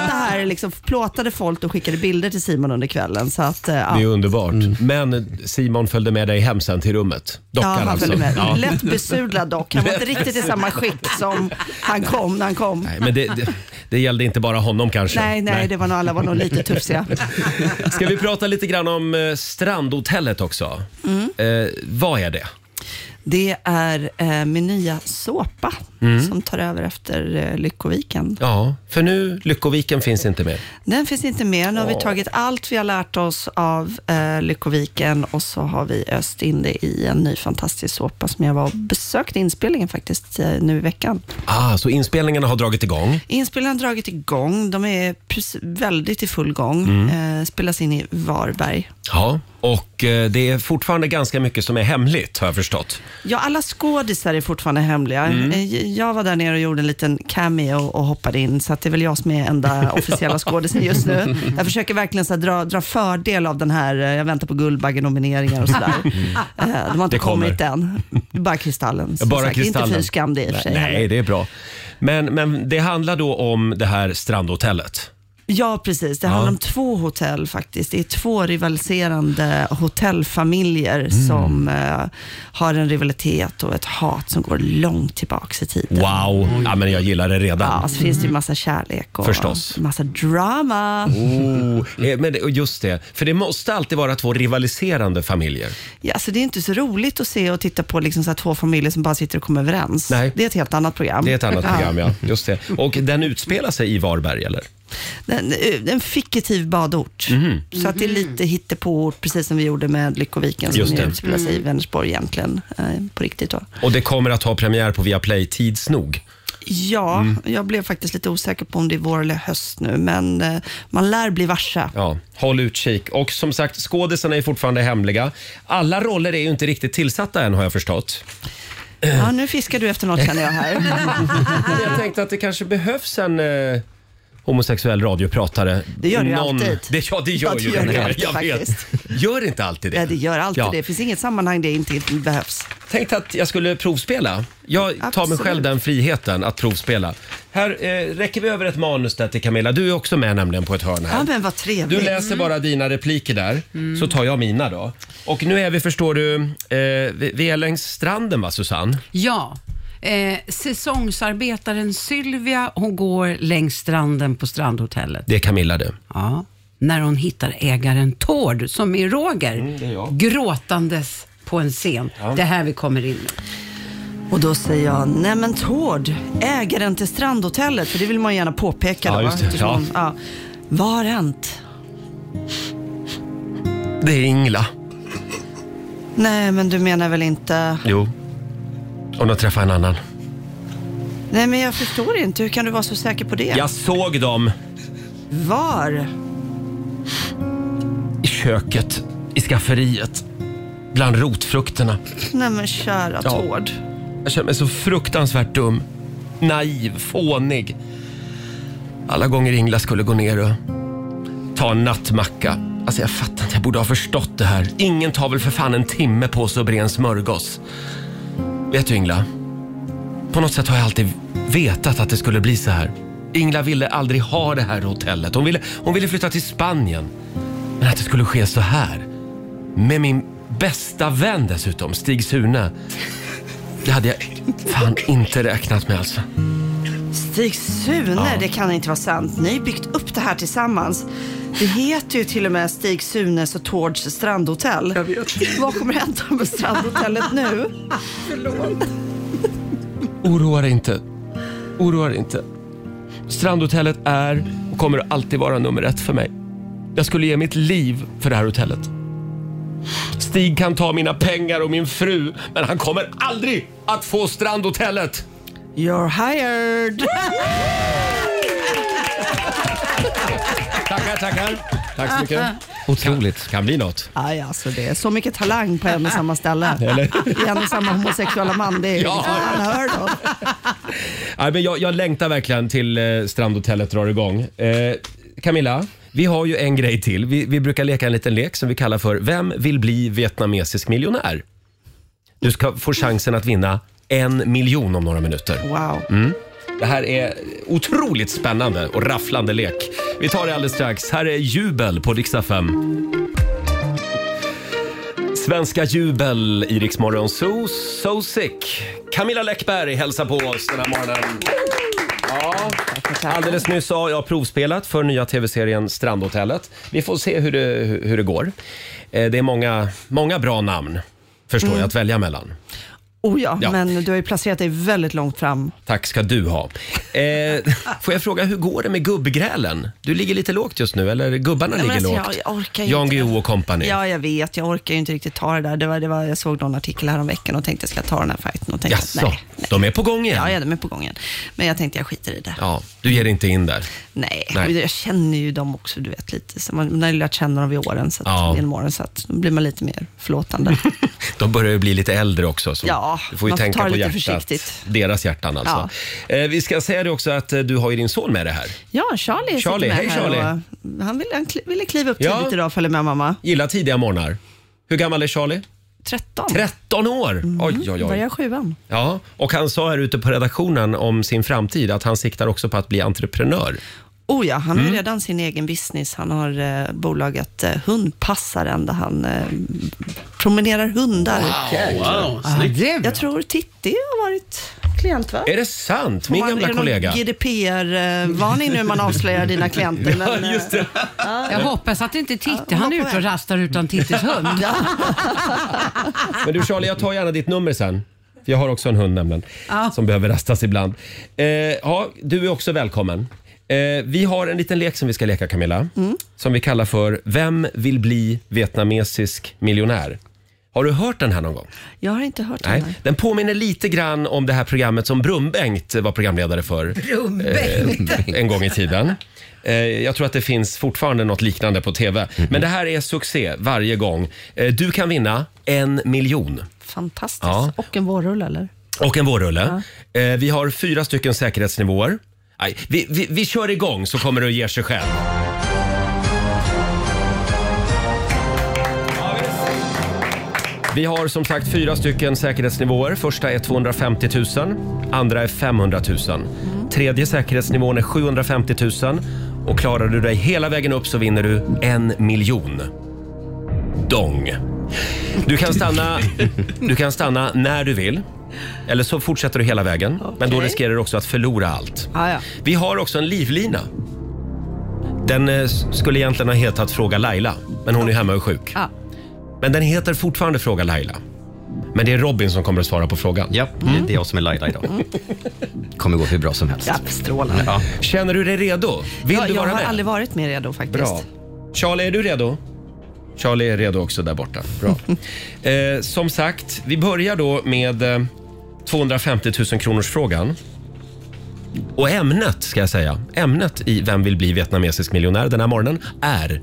det här liksom plåtade folk och skickade bilder till Simon under kvällen. Så att, eh, ja. Det är underbart. Men Simon följde med dig hem sen till rummet. Dockan ja, han alltså. följde med. Ja. Lätt besudlad dock. Han var inte Lätt riktigt i samma skick som han kom när han kom. Nej, Men det, det, det gällde inte bara honom kanske. nej, nej, det var nog, alla var nog lite tufsiga. Ska vi prata lite grann om eh, strandhotellet också? Mm. Eh, vad är det? Det är eh, min nya såpa Mm. som tar över efter eh, Lyckoviken. Ja, för nu Lyckoviken finns inte mer. Den finns inte med. Nu har vi Åh. tagit allt vi har lärt oss av eh, Lyckoviken och så har vi öst in det i en ny fantastisk såpa som jag var och besökte inspelningen faktiskt eh, nu i veckan. Ah, så inspelningarna har dragit igång. Inspelningen har dragit igång. De är precis- väldigt i full gång. Mm. Eh, spelas in i Varberg. Ja, och eh, det är fortfarande ganska mycket som är hemligt har jag förstått. Ja, alla skådisar är fortfarande hemliga. Mm. Eh, Jag var där nere och gjorde en liten cameo och hoppade in, så att det är väl jag som är enda officiella skådisen just nu. Jag försöker verkligen så här, dra, dra fördel av den här, eh, jag väntar på Guldbaggenomineringar och sådär. Eh, De har inte Det kommer. kommit än. Bara Kristallen. som Bara sagt. Kristallen. Inte fy skam det i och för sig. Nej, heller. nej, det är bra. Men, men det handlar då om det här strandhotellet. Ja, precis. Det handlar Ja. om två hotell faktiskt. Det är två rivaliserande hotellfamiljer Mm. som eh, har en rivalitet och ett hat som går långt tillbaks i tiden. Wow! Ja, men jag gillar det redan. Ja, så finns det ju massa kärlek och Förstås. massa drama. Oh, eh, men det- och just det, för det måste alltid vara två rivaliserande familjer. Ja, alltså det är inte så roligt att se och titta på liksom så här två familjer som bara sitter och kommer överens. Nej. Det är ett helt annat program. Det är ett annat program, ja. Just det. Och den utspelar sig i Varberg, eller? Den, Eh, en fiktiv badort. Mhm. Så att det är lite hittepåort, precis som vi gjorde med Lyckoviken som Just ju det. utspelar sig i Mm. Vänersborg egentligen, eh, på riktigt då. Och det kommer att ha premiär på Viaplay tids nog. Ja, Mm. jag blev faktiskt lite osäker på om det är vår eller höst nu, men eh, man lär bli varse. Ja, håll utkik. Och som sagt, skådisarna är fortfarande hemliga. Alla roller är ju inte riktigt tillsatta än har jag förstått. Ja, nu fiskar du efter något känner jag här. jag tänkte att det kanske behövs en eh, homosexuell radiopratare. Det gör det ju alltid. Det, ja, det gör Ja, det ju gör det. det alltid, jag vet. Gör inte alltid det? Ja, det gör alltid Ja. det. Det finns inget sammanhang det inte behövs. Tänkte att jag skulle provspela. Jag tar mig Absolut. själv den friheten att provspela. Här eh, räcker vi över ett manus där till Camilla. Du är också med nämligen på ett hörn här. Ja, men vad trevligt. Du läser bara dina repliker där, Mm. så tar jag mina då. Och nu är vi, förstår du, eh, vi, vi är längs stranden va Susanne? Ja. Eh, säsongsarbetaren Sylvia, hon går längs stranden på strandhotellet. Det är Camilla det. Ja. När hon hittar ägaren Tord, som är Roger, Mm, gråtandes på en scen. Det är här vi kommer in nu. Och då säger jag, nej men Tord, ägaren till strandhotellet, för det vill man ju gärna påpeka Ja, då. just det. eftersom- Ja. ja. Vad har hänt? Det är Ingla. Nej, men du menar väl inte... Jo. Hon har träffat en annan. Nej, men jag förstår inte. Hur kan du vara så säker på det? Jag såg dem Var? i köket, i skafferiet, bland rotfrukterna. Nej men kära Ja. Tord. Jag känner mig så fruktansvärt dum. Naiv, fånig. Alla gånger Ingla skulle gå ner och ta en nattmacka. Alltså jag fattar inte, jag borde ha förstått det här. Ingen tar väl för fan en timme på sig att bre en smörgås. Vet du Ingla? På något sätt har jag alltid vetat att det skulle bli så här. Ingla ville aldrig ha det här hotellet. Hon ville, hon ville flytta till Spanien. Men att det skulle ske så här. Med min bästa vän dessutom, Stig Sune. Det hade jag fan inte räknat med alltså. Stig Sune, Ja. det kan inte vara sant. Ni har byggt upp det här tillsammans. Det heter ju till och med Stig Sunes och Tords strandhotell. Jag vet. Vad kommer hända med strandhotellet nu? Förlåt. Oroa dig inte. Oroa dig inte. Strandhotellet är och kommer alltid vara nummer ett för mig. Jag skulle ge mitt liv för det här hotellet. Stig kan ta mina pengar och min fru, men han kommer aldrig att få strandhotellet. You're hired! tackar, tackar. Tack så mycket. Otroligt. Kan, kan bli något. Aj, alltså det är så mycket talang på en och samma ställe. Eller? I en och samma homosexuella man. Det är Ja. fan, hör då. Nej, men jag, jag längtar verkligen till eh, strandhotellet drar igång. Eh, Camilla, vi har ju en grej till. Vi, vi brukar leka en liten lek som vi kallar för Vem vill bli vietnamesisk miljonär? Du ska få chansen att vinna en miljon om några minuter. Wow. Mm. Det här är otroligt spännande och rafflande lek. Vi tar det alldeles strax. Här är Jubel på riksdag 5. Svenska jubel i Rix Morgon Zoo, So Sick. Camilla Läckberg hälsar på oss den här morgonen. Ja, alldeles nyss har jag provspelat för nya tv-serien Strandhotellet. Vi får se hur det, hur det går. Eh, Det är många, många bra namn, förstår Mm. jag, att välja mellan. Oh ja, Ja. men du har ju placerat dig väldigt långt fram. Tack ska du ha. Eh, får jag fråga, hur går det med gubbgrälen? Du ligger lite lågt just nu, eller gubbarna Ja, men ligger alltså, lågt? jag orkar ju Jan inte. Guillou och company. Ja, jag vet. Jag orkar ju inte riktigt ta det där. Det var, det var, jag såg någon artikel häromveckan och tänkte ska jag ta den här fighten och tänkte att Jaså, nej. de är på gång igen? Ja, ja, de är på gång igen. Men jag tänkte jag skiter i det. Ja, du ger inte in där? Nej, Nej. men jag känner ju dem också, du vet lite. Så man, man har ju lärt känna dem vid åren, så att, Ja. genom åren, så att då blir man lite mer förlåtande. De börjar ju bli lite äldre också. Så Ja, du får ju man får tänka ta det på lite hjärtat. försiktigt. Deras hjärtan alltså. Eh, vi ska säga det också att eh, du har ju din son med det här. Ja, Charlie sitter Charlie, med hej, här Charlie. och, han, ville, han kli- ville kliva upp Ja. tidigt idag och följa med mamma. Gillar tidiga morgnar. Hur gammal är Charlie? 13. 13 år! Mm. Oj, oj, oj. Börjar sjuan. Ja, och han sa här ute på redaktionen om sin framtid att han siktar också på att bli entreprenör. Oh ja, han har Mm. ju redan sin egen business. Han har eh, bolaget eh, Hundpassaren där han eh, promenerar hundar. Wow, wow, Ja, snyggt. jag tror Titti har varit klient va? Är det sant? Min Har man- gamla är det någon kollega. GDPR-varning eh, nu man avslöjar dina klienter. Ja, men, eh, just det. Jag hoppas att inte Titti, Ja, han är hoppa ute och iväg. rastar utan Tittis hund. Men du Charlie, jag tar gärna ditt nummer sen. För Jag har också en hund nämligen, som behöver rastas ibland. Eh, ja, du är också välkommen. Eh, vi har en liten lek som vi ska leka Camilla. Mm. Som vi kallar för Vem vill bli vietnamesisk miljonär? Har du hört den här någon gång? Jag har inte hört Nej. den här. Den påminner lite grann om det här programmet som Brumbengt var programledare för. Brumbengt. Eh, en gång i tiden. Eh, jag tror att det finns fortfarande något liknande på TV. Men det här är succé varje gång. Eh, du kan vinna en miljon. Fantastiskt. Ja. Och en vårrulle eller? Och en vårrulle. Eh, vi har fyra stycken säkerhetsnivåer. Nej, vi, vi, vi kör igång så kommer det att ge sig själv. Vi har som sagt fyra stycken säkerhetsnivåer. Första är 250 000, andra är 500 000. Tredje säkerhetsnivån är 750 000 och klarar du dig hela vägen upp så vinner du en miljon. Dong. Du kan stanna, du kan stanna när du vill. Eller så fortsätter du hela vägen, men då riskerar du också att förlora allt. Ah, ja. Vi har också en livlina. Den eh, s- skulle egentligen ha hetat Fråga Laila, men hon är hemma och sjuk. Ja. Men den heter fortfarande Fråga Laila. Men det är Robin som kommer att svara på frågan. Ja, det är jag som är Laila idag. kommer gå hur bra som helst. mm. Ja, strålande. Känner du dig redo? Vill jag du jag vara har med? aldrig varit mer redo faktiskt. Bra. Charlie, är du redo? Charlie är redo också där borta. Bra. eh, som sagt, vi börjar då med eh, 250 000 kronors frågan. Och ämnet, ska jag säga, ämnet i Vem vill bli vietnamesisk miljonär den här morgonen är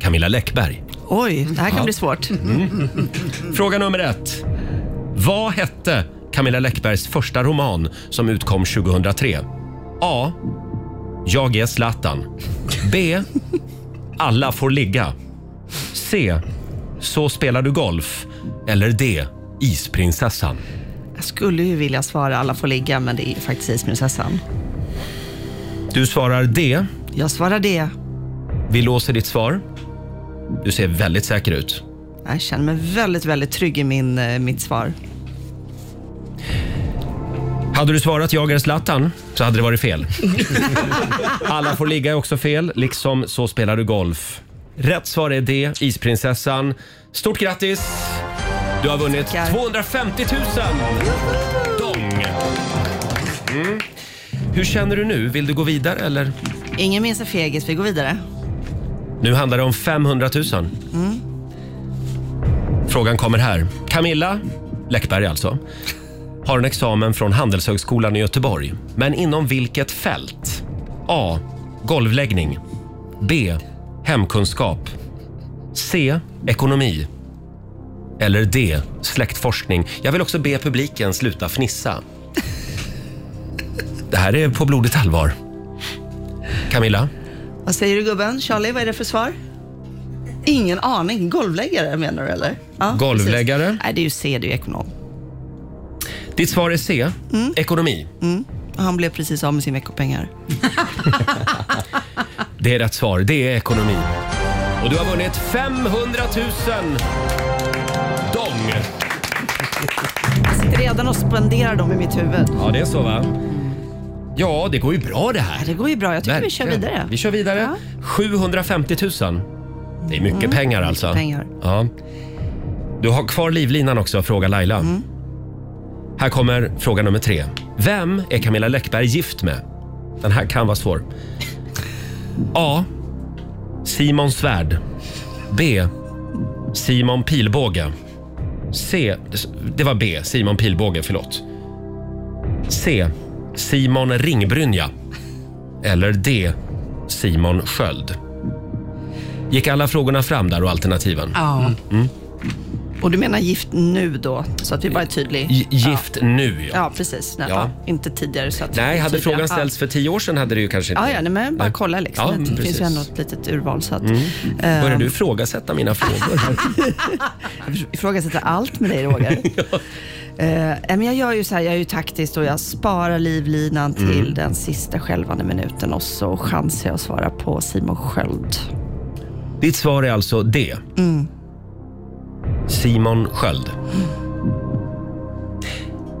Camilla Läckberg. Oj, det här kan Ja. bli svårt. Fråga nummer ett. Vad hette Camilla Läckbergs första roman som utkom 2003? A. Jag är Zlatan. B. Alla får ligga. C. Så spelar du golf. Eller D. Isprinsessan. Jag skulle ju vilja svara alla får ligga, men det är ju faktiskt Isprinsessan. Du svarar D. Jag svarar det. Vi låser ditt svar. Du ser väldigt säker ut. Jag känner mig väldigt, väldigt trygg i min, eh, mitt svar. Hade du svarat jag är Zlatan så hade det varit fel. Alla får ligga är också fel, liksom Så spelar du golf. Rätt svar är D, Isprinsessan. Stort grattis! Du har vunnit 250 000 dong! Mm. Hur känner du nu? Vill du gå vidare eller? Ingen minns en fegis, vi går vidare. Nu handlar det om 500 000. Mm. Frågan kommer här. Camilla Läckberg alltså har en examen från Handelshögskolan i Göteborg. Men inom vilket fält? A. Golvläggning. B. Hemkunskap. C. Ekonomi. Eller D. Släktforskning. Jag vill också be publiken sluta fnissa. Det här är på blodigt allvar. Camilla? Vad säger du gubben? Charlie, vad är det för svar? Ingen aning. Golvläggare menar du eller? Ja, Golvläggare? precis. Nej, det är ju C, det är ju ekonom. Ditt svar är C. Ekonomi. Mm. Och Han blev precis av med sin veckopengar. Det är rätt svar. Det är ekonomi. Och du har vunnit 500 000 dong. Jag sitter redan och spenderar dem i mitt huvud. Ja, det är så va? Ja, det går ju bra det här. Det går ju bra. Jag tycker vi kör Verkligen. vidare. Vi kör vidare. 750 000. Det är mycket Mm, pengar mycket alltså. pengar. Mm. Ja. Du har kvar livlinan också, fråga Laila. Här kommer fråga nummer tre. Vem är Camilla Läckberg gift med? Den här kan vara svår. A. Simon Svärd. B. Simon Pilbåge. C. Det var B. Simon Pilbåge, förlåt. C. Simon Ringbrynja. Eller D. Simon Sköld. Gick alla frågorna fram där och alternativen? Ja. Mm. Och du menar gift nu då, så att vi bara är tydliga? G- Gift nu, Ja, ja. precis. Nej, Ja. ja. Inte tidigare. Så att Nej, hade tydliga. frågan Ja. ställts för tio år sedan hade det ju kanske inte... Ja, ja nej, men bara Nej. kolla liksom. Ja, det men finns precis. ju ändå ett litet urval. Så att, Mm. Börjar Ehm. du ifrågasätta mina frågor? här? Jag ifrågasätter allt med dig Roger. Eh, men jag gör ju så här, jag är ju taktisk och jag sparar livlinan till Mm. den sista skälvande minuten och så chansar jag att svara på Simon Sköld. Ditt svar är alltså D. Mm. Simon Sköld.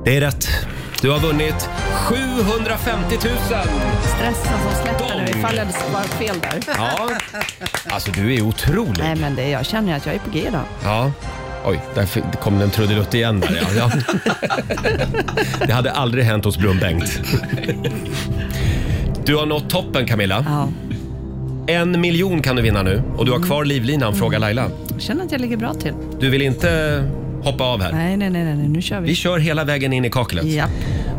Det är rätt. Du har vunnit 750 000! Stressen som släpper nu ifall jag hade svarat fel där. Ja. Alltså, du är otrolig. Nej men det, jag känner ju att jag är på G idag. Ja. Oj, där fick- kom den trudelutt igen där ja. ja. Det hade aldrig hänt hos Blom-Bengt. Du har nått toppen Camilla. En miljon kan du vinna nu och du har kvar livlinan, fråga Laila. Jag känner att jag ligger bra till. Du vill inte hoppa av här? Nej, nej, nej, nej, nu kör vi. Vi kör hela vägen in i kaklet. Ja.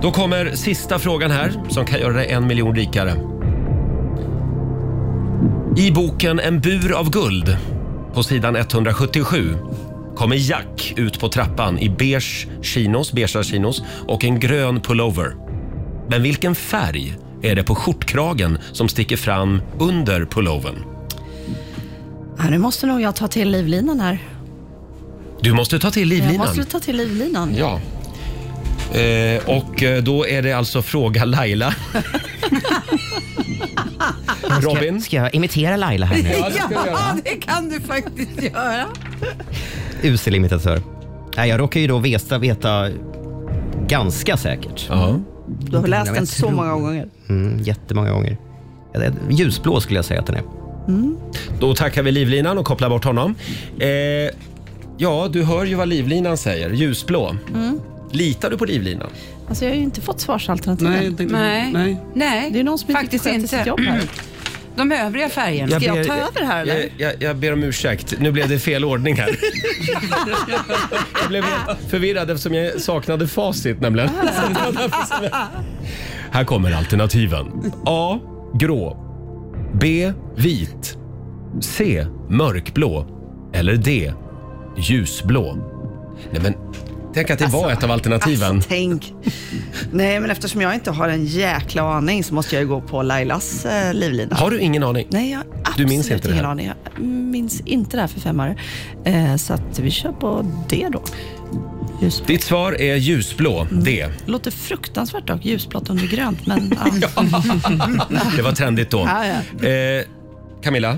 Då kommer sista frågan här som kan göra dig en miljon rikare. I boken En bur av guld på sidan 177 kommer Jack ut på trappan i beige chinos, beigea chinos och en grön pullover. Men vilken färg är det på skjortkragen som sticker fram under pullovern? Ja, nu måste nog jag ta till livlinan här. Du måste ta till livlinan. Jag måste ta till livlinan. Ja. Eh, och eh, då är det alltså fråga Laila. Robin? Ska jag imitera Laila här nu? ja, det kan du faktiskt göra. Usel imitatör. Nej, jag råkar ju då veta, veta ganska säkert. Du har läst Jag den vet. så många gånger. Mm, jättemånga gånger. Ja, det är- Ljusblå skulle jag säga att den är. Då tackar vi livlinan och kopplar bort honom. Eh, ja, du hör ju vad livlinan säger. Ljusblå. Mm. Litar du på livlinan? Alltså jag har ju inte fått svarsalternativen. Nej, det- Nej. nej. Nej, Det är någon som inte faktiskt sköter inte. sitt jobb här. De övriga färgerna. Jag, jag, jag ber om ursäkt. Nu blev det fel ordning här. Jag blev helt förvirrad eftersom jag saknade facit nämligen. Här kommer alternativen. A. Grå. B. Vit. C. Mörkblå. Eller D. Ljusblå. Nej men, tänk att det var ett av alternativen. Alltså, tänk. Nej, men eftersom jag inte har en jäkla aning så måste jag ju gå på Lailas eh, livlina. Har du ingen aning? Nej, jag har Du absolut minns inte det ingen här? aning. Jag minns inte det här för fem öre. Eh, så att vi kör på det då. Ditt svar är ljusblå. D. Låter fruktansvärt dock, ljusblått under grönt, men... ja. Det var trendigt då. Ja, Eh, Camilla?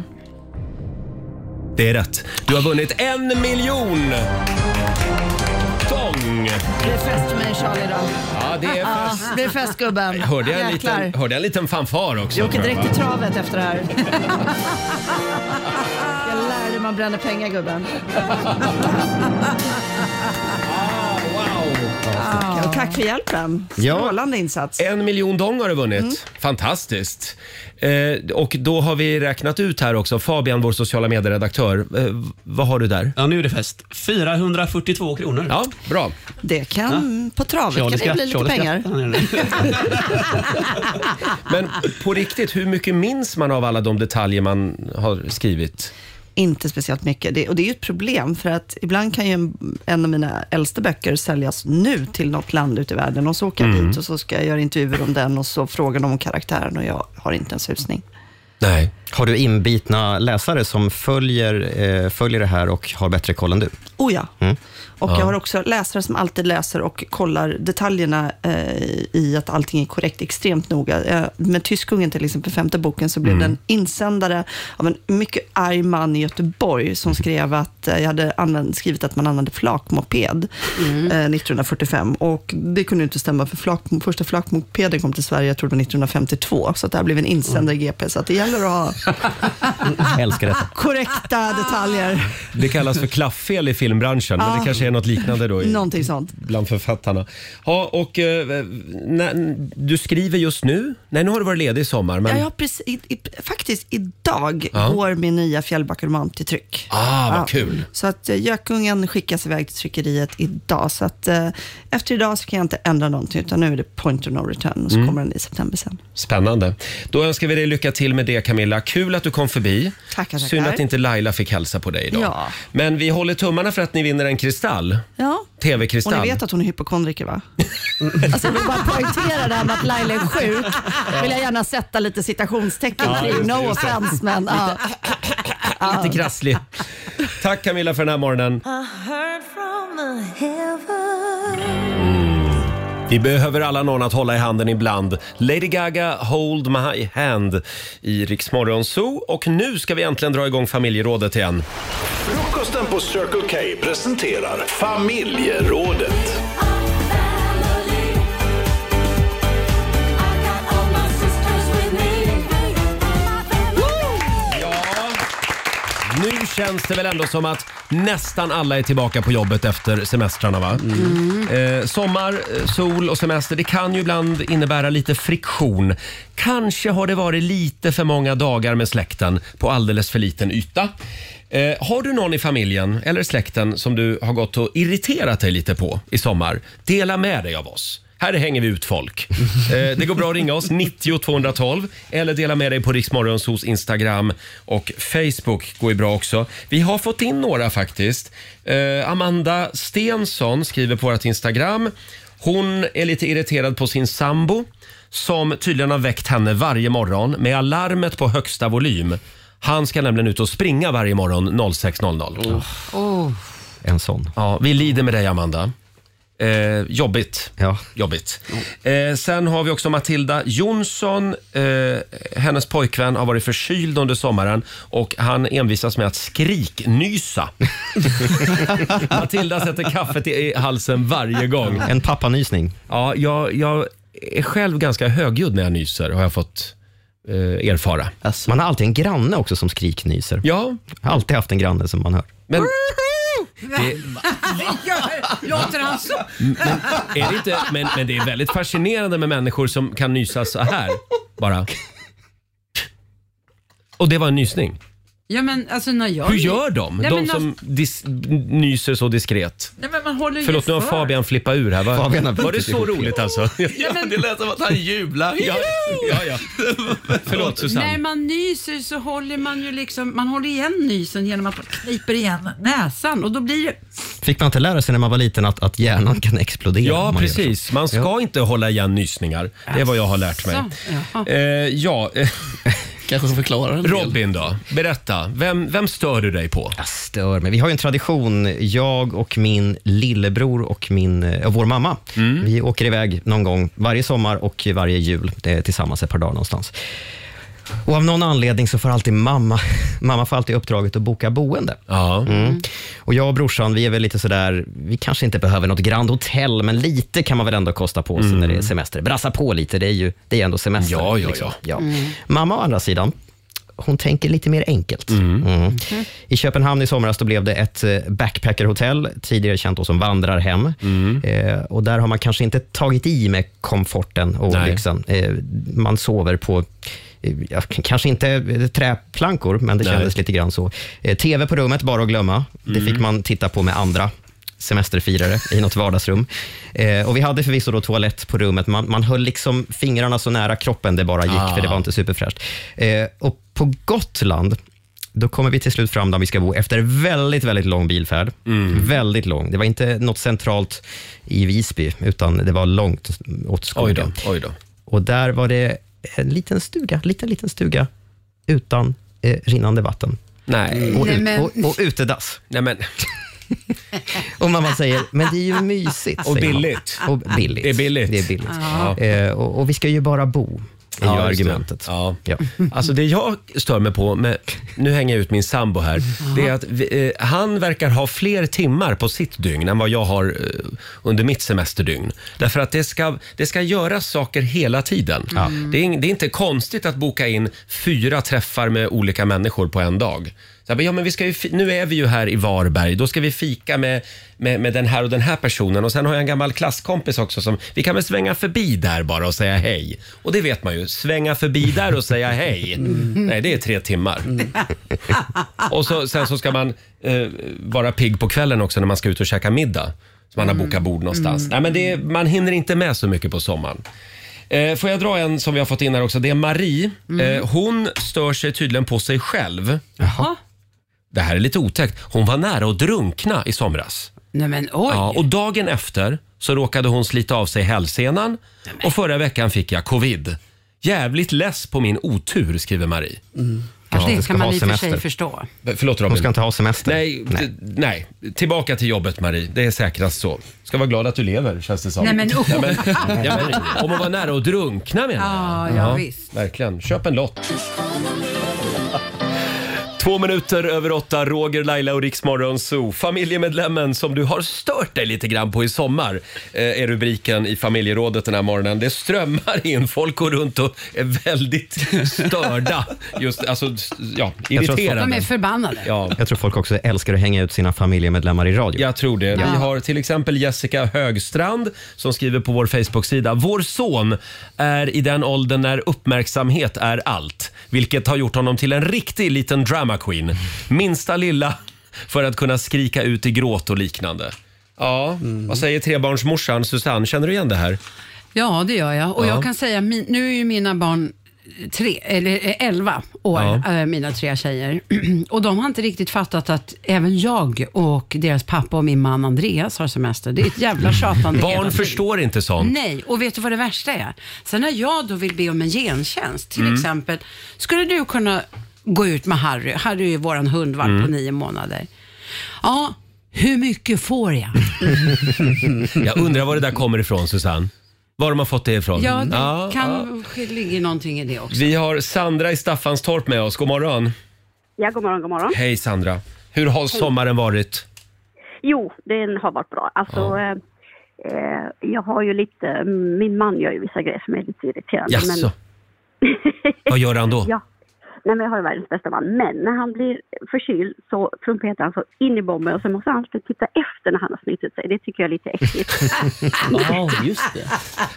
Det är rätt. Du har vunnit en miljon! Tång! Det är fest för mig Charlie idag. Ja, det är fest. det är fest gubben. Hörde jag, en Jäklar. liten, hörde jag en liten fanfar också? Jag åker tror jag, direkt till va? travet efter det här. Jag lär dig man bränner pengar gubben. Ah, Ja, tack för hjälpen. Strålande insats. En miljon dong har du vunnit. Mm. Fantastiskt. Eh, och då har vi räknat ut här också, Fabian, vår sociala medieredaktör. Eh, vad har du där? Ja, nu är det fest. 442 kronor. Ja, bra. Det kan, på travet kan Charlie det skratt- bli lite Charlie pengar. Men på riktigt, hur mycket minns man av alla de detaljer man har skrivit? Inte speciellt mycket. Det, och det är ju ett problem, för att ibland kan ju en, en av mina äldsta böcker säljas nu till något land ute i världen och så åker jag Mm. dit och så ska jag göra intervjuer om den och så frågar de om karaktären och jag har inte en susning. Nej. Har du inbitna läsare som följer, eh, följer det här och har bättre koll än du? Oh ja. Mm. Och jag har också läsare som alltid läser och kollar detaljerna eh, i att allting är korrekt extremt noga. Eh, med Tyskungen till exempel, femte boken, så blev Mm. den insändare av en mycket arg man i Göteborg som skrev att eh, jag hade använt, skrivit att man använde flakmoped Mm. eh, 1945. Och det kunde ju inte stämma, för flak, första flakmopeden kom till Sverige, jag tror det var 1952. Så att det här blev en insändare i GP, så att det gäller att ha Älskar detta. Korrekta detaljer. Det kallas för klafffel i filmbranschen, men Ja. det kanske är något liknande då i, Någonting sånt. bland författarna. Ja, och eh, när, du skriver just nu? Nej, nu har du varit ledig i sommar. Men... Ja, jag har precis, i, i, faktiskt idag Ja. går min nya Fjällbackaroman till tryck. Ah, vad kul. Så att eh, Gökungen skickas iväg till tryckeriet idag. Så att eh, efter idag så kan jag inte ändra någonting, utan nu är det point of no return och så Mm. kommer den i september sen. Spännande. Då önskar vi dig lycka till med det Camilla. Kul att du kom förbi. Tackar, tackar. Synd att inte Laila fick hälsa på dig idag. Ja. Men vi håller tummarna för att ni vinner en kristall. Ja. Och TV-kristall. ni vet att hon är hypokondriker va? Alltså jag vill bara poängtera det här med att Laila är sjuk. vill jag gärna sätta lite citationstecken Ja, kring. just det, no just det. offense men. ja. Ja. Lite krasslig. Tack Camilla för den här morgonen. I heard from the heaven. Vi behöver alla någon att hålla i handen ibland. Lady Gaga, Hold My Hand i Rix Morgon Zoo. Och nu ska vi äntligen dra igång familjerådet igen. Frukosten på Circle K presenterar Familjerådet. Nu känns det väl ändå som att nästan alla är tillbaka på jobbet efter semestrarna va? Eh, sommar, eh, sol och semester, det kan ju ibland innebära lite friktion. Kanske har det varit lite för många dagar med släkten på alldeles för liten yta. Eh, har du någon i familjen eller släkten som du har gått och irriterat dig lite på i sommar? Dela med dig av oss. Här hänger vi ut folk. Eh, det går bra att ringa oss, 90 212 eller dela med dig på Riksmorgonsos Instagram och Facebook går ju bra också. Vi har fått in några faktiskt. Eh, Amanda Stensson skriver på vårt Instagram. Hon är lite irriterad på sin sambo som tydligen har väckt henne varje morgon med alarmet på högsta volym. Han ska nämligen ut och springa varje morgon 06.00. Oh. En sån. Ja, vi lider med dig Amanda. Eh, jobbigt. Ja. jobbigt. Eh, sen har vi också Matilda Jonsson. Eh, hennes pojkvän har varit förkyld under sommaren och han envisas med att skriknysa. Matilda sätter kaffet i, i halsen varje gång. En pappanysning. Ja, jag, jag är själv ganska högljudd när jag nyser har jag fått eh, erfara. Alltså. Man har alltid en granne också som skriknyser. Ja. Jag har alltid haft en granne som man hör. Men, Låter han så? Men, är det inte, men, men det är väldigt fascinerande med människor som kan nysa så här bara. Och det var en nysning. Ja, men, alltså, när jag... Hur gör de? Nej, de men, som alltså- dis, nyser så diskret. Nej, men man håller ju Förlåt, nu har för. Fabian flippat ur här. Var, Fabian har var det brutit så ihop. roligt alltså? Ja, men... Det lät som att han jublar. Ja, ja, ja. Förlåt När Susanne. man nyser så håller man ju liksom, man håller igen nysen genom att man kniper igen näsan och då blir det... Fick man inte lära sig när man var liten att, att hjärnan kan explodera? Ja, om man gör så? precis. Man ska inte hålla igen nysningar. Det är vad jag har lärt mig. Så, Eh, ja. Kanske förklarar Robin då, berätta. Vem, vem stör du dig på? stör mig. Vi har ju en tradition, jag och min lillebror och min, eh, vår mamma. Vi åker iväg någon gång varje sommar och varje jul eh, tillsammans ett par dagar någonstans. Och av någon anledning så får alltid mamma, mamma får alltid uppdraget att boka boende. Mm. Och jag och brorsan, vi är väl lite sådär, vi kanske inte behöver något Grand Hotel, men lite kan man väl ändå kosta på sig när det är semester. Brassa på lite, det är ju det är ändå semester. Mm. Ja, ja, liksom. ja. ja. Mm. Mamma å andra sidan, hon tänker lite mer enkelt. Mm. I Köpenhamn i somras då blev det ett eh, backpackerhotell, tidigare känt då som vandrarhem. Mm. Eh, och där har man kanske inte tagit i med komforten och Nej. lyxen. Eh, man sover på eh, Ja, k- kanske inte eh, träplankor, men det Nej. kändes lite grann så. Eh, TV på rummet, bara att glömma. Det Mm. fick man titta på med andra semesterfirare i något vardagsrum. Eh, och Vi hade förvisso då toalett på rummet. Man, man höll liksom fingrarna så nära kroppen det bara gick, Ah. för det var inte superfräscht. Eh, och på Gotland, då kommer vi till slut fram där vi ska bo efter väldigt, väldigt lång bilfärd. Mm. Väldigt lång. Det var inte något centralt i Visby, utan det var långt åt skogen. Oj då, oj då. Och där var det en liten stuga, liten, liten stuga utan eh, rinnande vatten. Nej. Och, Nej, men- ut, och, och utedass. Nej, men. Och mamma säger, men det är ju mysigt. Och säger mamma. billigt. Och billigt. Det är billigt. Det är billigt. Ja. Eh, och, och vi ska ju bara bo. är ju just det. argumentet. Ja. Alltså det jag stör mig på, med, nu hänger jag ut min sambo här, det är att vi, eh, han verkar ha fler timmar på sitt dygn än vad jag har eh, under mitt semesterdygn. Därför att det ska, det ska göras saker hela tiden. Ja. Det, är, ing- det är inte konstigt att boka in fyra träffar med olika människor på en dag. Så jag bara, ja, men vi ska ju, fi- nu är vi ju här i Varberg, då ska vi fika med, med, med den här och den här personen och sen har jag en gammal klasskompis också som, vi kan väl svänga förbi där bara och säga hej. Och det vet man ju, svänga förbi där och säga hej. Mm. Nej, det är tre timmar. Och så, sen så ska man eh, vara pigg på kvällen också när man ska ut och käka middag. Så man har bokat bord någonstans. Mm. Nej, men det är, man hinner inte med så mycket på sommaren. Eh, får jag dra en som vi har fått in här också? Det är Marie. Mm. Eh, hon stör sig tydligen på sig själv. Det här är lite otäckt. Hon var nära att drunkna i somras. Nej men oj. Ja, och dagen efter så råkade hon slita av sig hälsenan och förra veckan fick jag covid. Jävligt less på min otur, skriver Marie. Mm. Ja. Kanske det Ska kan man ha i och för sig semester. förstå. Förlåt Robin. Hon ska inte ha semester. Nej, nej. nej, tillbaka till jobbet Marie. Det är säkrast så. Ska vara glad att du lever känns det som. Nej, men, oh. men, ja, men, om man var nära att drunkna menar Ja, jag. ja, visst. Verkligen. Köp en lott. Två minuter över åtta, Roger, Laila och Riksmorgon Zoo. Familjemedlemmen som du har stört dig lite grann på i sommar eh, är rubriken i familjerådet den här morgonen. Det strömmar in, folk går runt och är väldigt störda. Just, alltså, ja, irriterade. De är förbannade. Jag tror folk också älskar att hänga ut sina familjemedlemmar i radio. Jag tror det. Vi har till exempel Jessica Högstrand som skriver på vår Facebook-sida. Vår son är i den åldern när uppmärksamhet är allt, vilket har gjort honom till en riktig liten drama queen. Minsta lilla för att kunna skrika ut i gråt och liknande. Ja, vad säger trebarnsmorsan Susanne? Känner du igen det här? Ja, det gör jag. Och Ja. jag kan säga, min- nu är ju mina barn tre, eller eh, elva år, Ja. eh, mina tre tjejer. och de har inte riktigt fattat att även jag och deras pappa och min man Andreas har semester. Det är ett jävla tjatande hela Mm. Barn tiden. förstår inte sånt. Nej, och vet du vad det värsta är? Sen när jag då vill be om en gentjänst, till Mm. exempel, skulle du kunna gå ut med Harry? Harry är ju våran hundvalp Mm. på nio månader. Ja, hur mycket får jag? Jag undrar var det där kommer ifrån, Susanne. Var de har fått det ifrån? Ja, det Mm. Ja, ja. kan ligga någonting i det också. Vi har Sandra i Staffanstorp med oss. God morgon. Ja, god morgon, god morgon. Hej Sandra. Hur har sommaren varit? Jo, den har varit bra. Alltså, eh, eh, jag har ju lite, min man gör ju vissa grejer som är lite irriterande. Jaså? Vad gör han då? Ja. Nej, men jag har ju världens bästa man. Men när han blir förkyld så trumpetar han så in i bomben och sen måste han alltid titta efter när han har snytt ut sig. Det tycker jag är lite äckligt. Ja, just det.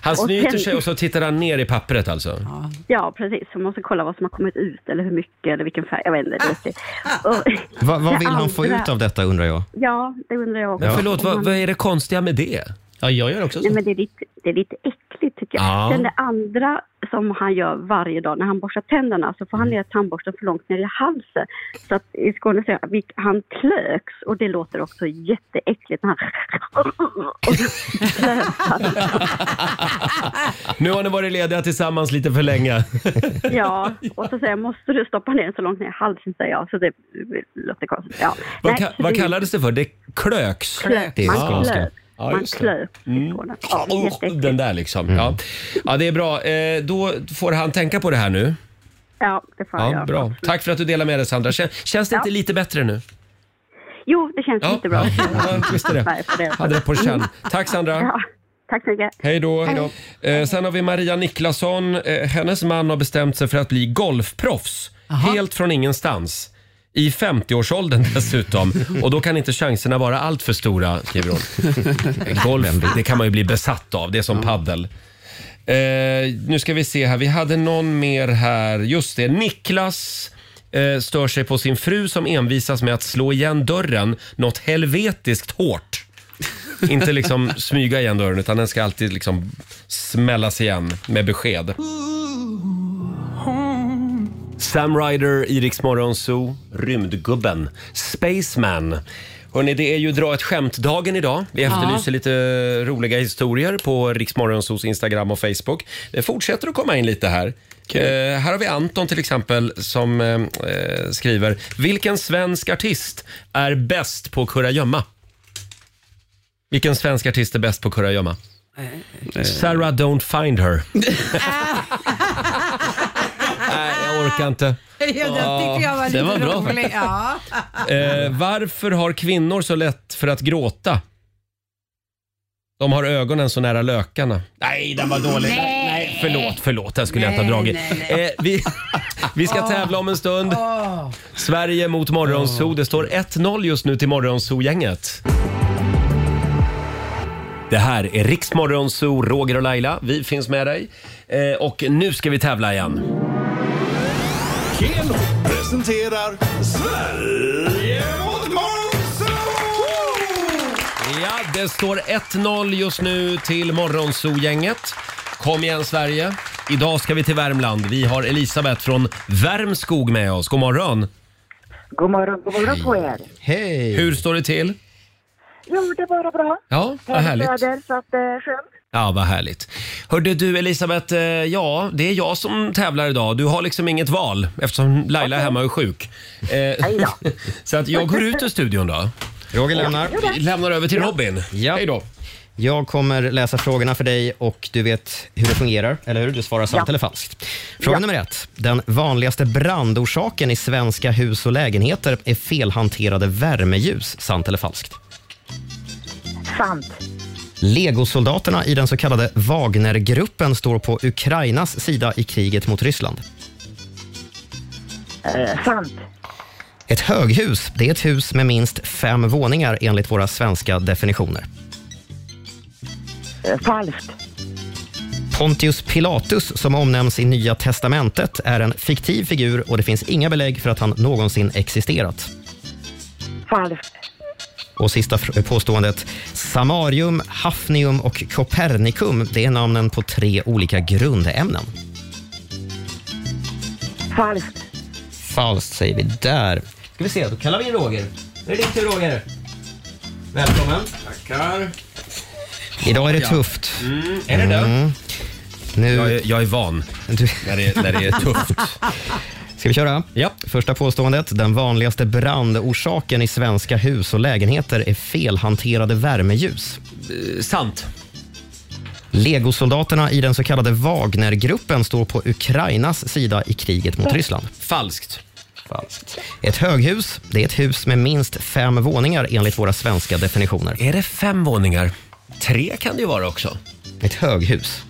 Han Och sen- snyter sig och så tittar han ner i pappret alltså? ja, precis. Så man måste kolla vad som har kommit ut eller hur mycket eller vilken färg. Jag vet inte. Det är lite- och, Va, vad det vill han få andra- ut av detta undrar jag? Ja, det undrar jag också. Men förlåt, Om han- vad, vad är det konstiga med det? Ja, jag gör också Nej, men det är lite, det är lite äckligt tycker jag. Ja. Sen det andra som han gör varje dag när han borstar tänderna så får Mm. han ner tandborsten för långt ner i halsen. Så att i Skåne säger vi han klöks och det låter också jätteäckligt när han Nu har ni varit lediga tillsammans lite för länge. Ja, och så säger jag måste du stoppa ner den så långt ner i halsen säger jag. Så det låter konstigt. Ja. Vad, Nej, ka- så vad det- kallades det för? Det klöks? Klöks. Det är Man skånska. klöks. Ja, Man just det. klöks Mm. Ja, Oh, jätteäckligt. den där liksom. Mm. Ja. ja, det är bra. Eh, då får han tänka på det här nu. Ja, det får jag Ja, göra. bra. Tack för att du delar med dig Sandra. Kän- Känns det inte lite bättre nu? Jo, det känns Ja. lite bra. Ja, visst är det. Nej, för Hade det på känn. Tack Sandra. Ja, tack så mycket. Hej då. Eh, sen har vi Maria Niklasson. Eh, hennes man har bestämt sig för att bli golfproffs. Helt från ingenstans. I 50-årsåldern dessutom. Och då kan inte chanserna vara allt för stora, skriver hon. Eh, Golf, det kan man ju bli besatt av. Det är som paddel. Eh, nu ska vi se här. Vi hade någon mer här. Just det, Niklas eh, stör sig på sin fru som envisas med att slå igen dörren något helvetiskt hårt. Inte liksom smyga igen dörren utan den ska alltid liksom smällas igen med besked. Sam Ryder, Iriks Zoo, Rymdgubben, Spaceman. Hörni, det är ju dra ett skämt-dagen idag. Vi Ja. efterlyser lite roliga historier på Riksmorgonsos Instagram och Facebook. Det fortsätter att komma in lite här. Eh, här har vi Anton till exempel som eh, eh, skriver “Vilken svensk artist är bäst på kurragömma?” Vilken svensk artist är bäst på kurragömma? Sarah Don't Find Her. orkar inte. Ja, den tyckte jag var den lite var bra rolig. faktiskt. Ja. Eh, varför har kvinnor så lätt för att gråta? De har ögonen så nära lökarna. Nej, den var dålig. Nej. Förlåt, förlåt. Den skulle jag Nej, inte ha dragit. nej, Eh, vi, vi ska Åh. tävla om en stund. Åh. Sverige mot Morgonzoo. Det står 1-0 just nu till Morgonzoo-gänget. Det här är Riks Morgonzoo, Roger och Laila. Vi finns med dig. Eh, och nu ska vi tävla igen. Keno presenterar Sverige mot Monzo! Ja, det står 1-0 just nu till Morgonzoo-gänget. Kom igen Sverige! Idag ska vi till Värmland. Vi har Elisabeth från Värmskog med oss. God morgon! God morgon, god morgon på er. Hej! Hur står det till? Jo, det är bara bra. Ja, vad Härligt härligt. väder, så att det är skönt. Ja, vad härligt. Hörde du Elisabeth, eh, ja, det är jag som tävlar idag. Du har liksom inget val eftersom Laila hemma är sjuk. Eh, så att jag går ut ur studion då. Roger lämnar. Vi lämnar över till Robin. Ja. Hej då. Jag kommer läsa frågorna för dig och du vet hur det fungerar, eller hur? Du svarar sant Ja. eller falskt. Fråga Ja. nummer ett. Den vanligaste brandorsaken i svenska hus och lägenheter är felhanterade värmeljus. Sant eller falskt? Sant. Legosoldaterna i den så kallade Wagnergruppen står på Ukrainas sida i kriget mot Ryssland. Eh, sant. Ett höghus det är ett hus med minst fem våningar enligt våra svenska definitioner. Eh, falskt. Pontius Pilatus, som omnämns i Nya testamentet, är en fiktiv figur och det finns inga belägg för att han någonsin existerat. Falskt. Och sista fr- påståendet. Samarium, Hafnium och Copernicum, det är namnen på tre olika grundämnen. Falskt. Falskt säger vi där. Ska vi se, då kallar vi in Roger. Nu är det din tur Roger. Välkommen. Tackar. Idag är det Ja. tufft. Mm, är det det? Nu... Jag, är, van när det, när det är tufft. Ska vi köra? Ja. Första påståendet. Den vanligaste brandorsaken i svenska hus och lägenheter är felhanterade värmeljus. sant. Legosoldaterna i den så kallade Wagnergruppen står på Ukrainas sida i kriget mot Ryssland. Falskt. Falskt. Ett höghus det är ett hus med minst fem våningar enligt våra svenska definitioner. Är det fem våningar? Tre kan det ju vara också. Ett höghus.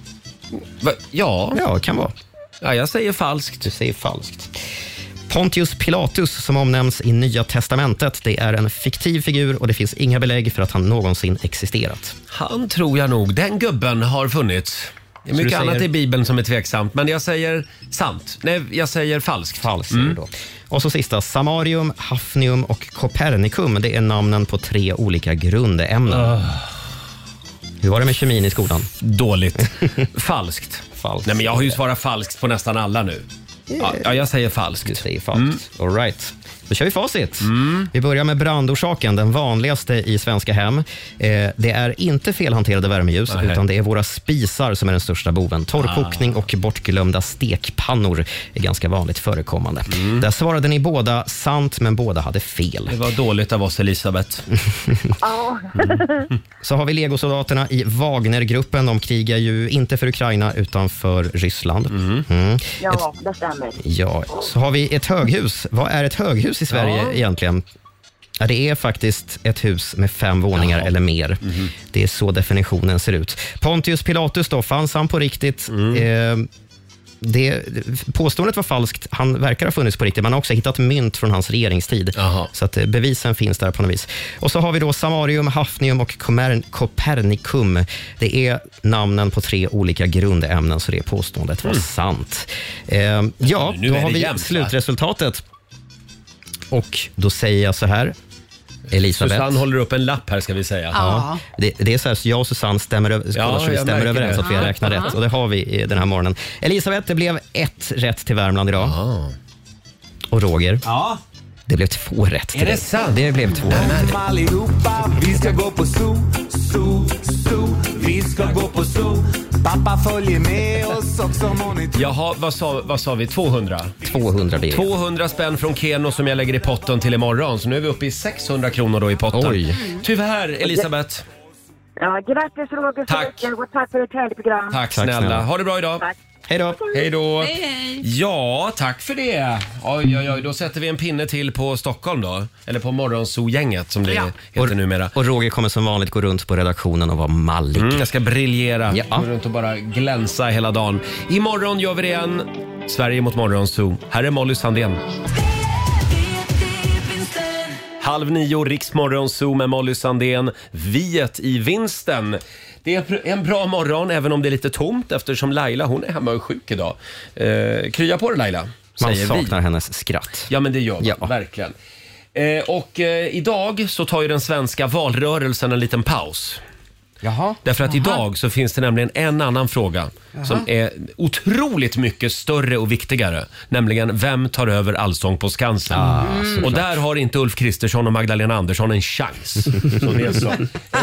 Va? Ja. Ja, det kan vara. Ja, jag säger falskt. Du säger falskt. Pontius Pilatus, som omnämns i Nya testamentet, det är en fiktiv figur och det finns inga belägg för att han någonsin existerat. Han tror jag nog, den gubben har funnits. Det är Så mycket du säger- annat i Bibeln som är tveksamt, men jag säger sant. Nej, jag säger falskt. Falskt säger du då. Och så sista, Samarium, Hafnium och Copernicum, det är namnen på tre olika grundämnen. Hur var det med kemin i skolan? Dåligt. falskt. falskt. Nej, men jag har ju svarat falskt på nästan alla nu. Ja, ja, jag säger falskt. Du säger falskt. All right. Då kör vi facit. Vi börjar med brandorsaken, den vanligaste i svenska hem. Eh, det är inte felhanterade värmeljus, Nej. utan det är våra spisar som är den största boven. Torrkokning och bortglömda stekpannor är ganska vanligt förekommande. Där svarade ni båda sant, men båda hade fel. Det var dåligt av oss, Elisabeth. Ja. Så har vi legosoldaterna i Wagnergruppen. De krigar ju inte för Ukraina, utan för Ryssland. Mm. ja, det stämmer. Ja, så har vi ett höghus. Vad är ett höghus i Sverige Ja. egentligen? Ja, det är faktiskt ett hus med fem våningar eller mer. Det är så definitionen ser ut. Pontius Pilatus då, fanns han på riktigt? Eh, det, påståendet var falskt. Han verkar ha funnits på riktigt. Man har också hittat mynt från hans regeringstid. Så att eh, bevisen finns där på något vis. Och så har vi då Samarium, Hafnium och Comer- Copernicum. Det är namnen på tre olika grundämnen, så det påståendet var Mm. sant. Eh, ja, Nu då är har det vi jämnt, va? slutresultatet. Och då säger jag så här. Elisabeth. Susanne håller upp en lapp här, ska vi säga. Ja. Det, det är så här, så jag och Susanne stämmer, över, Ja, ja, så vi jag stämmer märker överens det. att vi har Ja. räknat Ja. rätt. Och det har vi eh, den här morgonen. Elisabeth, det blev ett rätt till Värmland idag. Och Roger, Ja. det blev två rätt till Är det dig. sant? Det blev två rätt. Men allihopa, vi ska gå på zoo, zoo, zoo. Vi ska gå på zoo. Pappa följer med oss också monitor. Jaha, vad sa, vad sa vi? 200? 200 blir det. 200 spänn från Keno som jag lägger i potten till imorgon. Så nu är vi uppe i 600 kronor då i potten. Oj. Tyvärr, Elisabeth. Ja, grattis Roger så Tack. mycket och tack för ett härligt program. Tack, snälla. Ha det bra idag. Tack. Hej då. Hej då. Hej, hej. Ja, tack för det. Oj, oj, oj. Då sätter vi en pinne till på Stockholm då. Eller på Morgonzoo-gänget som det Ja. heter numera. Och Roger kommer som vanligt gå runt på redaktionen och vara mallig. Mm, jag ska briljera. Gå runt och bara glänsa hela dagen. Imorgon gör vi det igen. Sverige mot Morgonzoo. Här är Molly Sandén. Halv nio, Riksmorgonzoo med Molly Sandén. Viet i vinsten. Det är pr- en bra morgon även om det är lite tomt eftersom Laila hon är hemma och är sjuk idag. Eh, krya på dig Laila, Man säger vi. saknar hennes skratt. Ja, men det gör man. Verkligen. Eh, och eh, idag så tar ju den svenska valrörelsen en liten paus. Jaha. Därför att idag så finns det nämligen en annan fråga Jaha. som är otroligt mycket större och viktigare. Nämligen, vem tar över Allsång på Skansen? Ah, Mm. såklart. Och där har inte Ulf Kristersson och Magdalena Andersson en chans. Som det är så.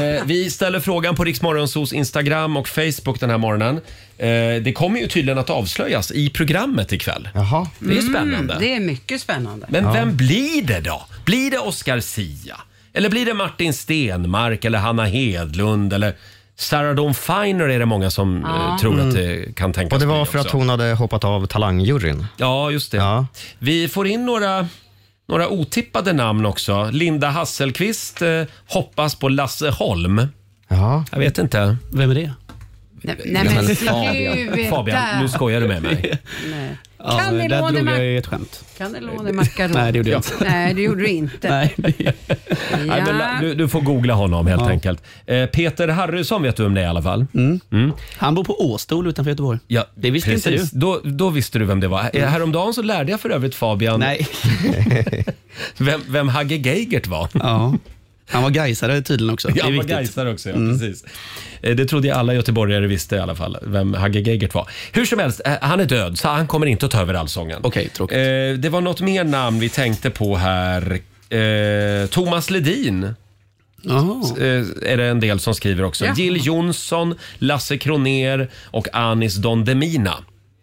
Eh, vi ställer frågan på Riksmorgonsos Instagram och Facebook den här morgonen. Eh, det kommer ju tydligen att avslöjas i programmet ikväll. Jaha. Det är spännande. Mm, det är mycket spännande. Men vem blir det då? Blir det Oscar Sia? Eller blir det Martin Stenmark eller Hanna Hedlund eller Sarah Dawn Finer är det många som Ja. eh, tror att Mm. det kan tänkas Och det var bli för att också. hon hade hoppat av talangjuryn. Ja, just det. Vi får in några, några otippade namn också. Linda Hasselqvist eh, hoppas på Lasse Holm. Ja. Jag vet inte. Vem är det? nej, men sluta. Fabian. Fabian, nu skojar du med mig. Ja, Kan ni där låna drog jag Mac- ju ett skämt. Kan du låna makaron? Nej, det gjorde jag inte. Nej, det gjorde du inte. Nej, men la- du, du får googla honom helt enkelt. Eh, Peter Harrysson vet du om det är i alla fall. Han bor på Åstol utanför Göteborg. Ja, det visste inte du. Då, då visste du vem det var. Mm. Häromdagen så lärde jag för övrigt Fabian Nej. vem, vem Hagge Geigert var. Ja. Han var gaisare tydligen också. Det är Ja, han var viktigt. gaisare också, ja, Mm. precis. Eh, Det trodde jag alla göteborgare visste i alla fall, vem Hagge Geigert var. Hur som helst, eh, han är död, så han kommer inte att ta över Allsången. Okej, tråkigt. Det var något mer namn vi tänkte på här. Eh, Thomas Ledin. S- eh, är det en del som skriver också. Ja. Jill Johnson, Lasse Kroner och Anis Don Demina.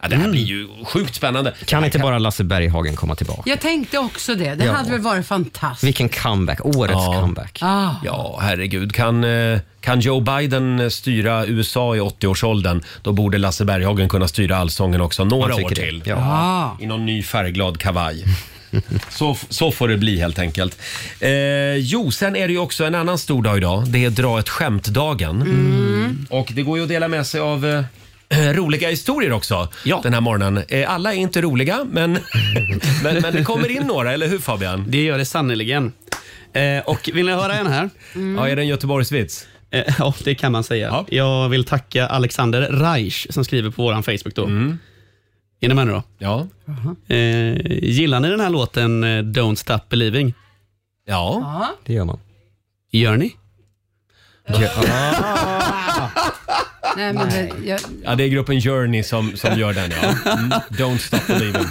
Ja, det här blir ju sjukt spännande. Kan inte bara Lasse Berghagen komma tillbaka? Jag tänkte också det. Det Ja. hade väl varit fantastiskt. Vilken comeback, årets comeback. Ah. Ja, herregud. Kan, eh, kan Joe Biden eh, styra USA i 80-årsåldern, då borde Lasse Berghagen kunna styra allsången också några Man år tycker det. till. Ja. Ah. I någon ny färgglad kavaj. Så, f- så får det bli helt enkelt. Eh, jo, sen är det ju också en annan stor dag idag. Det är dra ett skämt-dagen. Mm. Och det går ju att dela med sig av eh, roliga historier också den här morgonen. Eh, alla är inte roliga, men, men, men det kommer in några, eller hur Fabian? Det gör det sannerligen. Eh, och vill ni höra en här? Mm. Ja, är det en Göteborgsvits? Eh, ja, det kan man säga. Jag vill tacka Alexander Reich som skriver på vår Facebook. Då. Är ni med nu då? Ja. Eh, gillar ni den här låten eh, Don't Stop Believing? Ja, det gör man. Gör ni? Nej, men det, jag, Ja, det är gruppen Journey som, som gör den. Ja. Mm. Don't stop believing.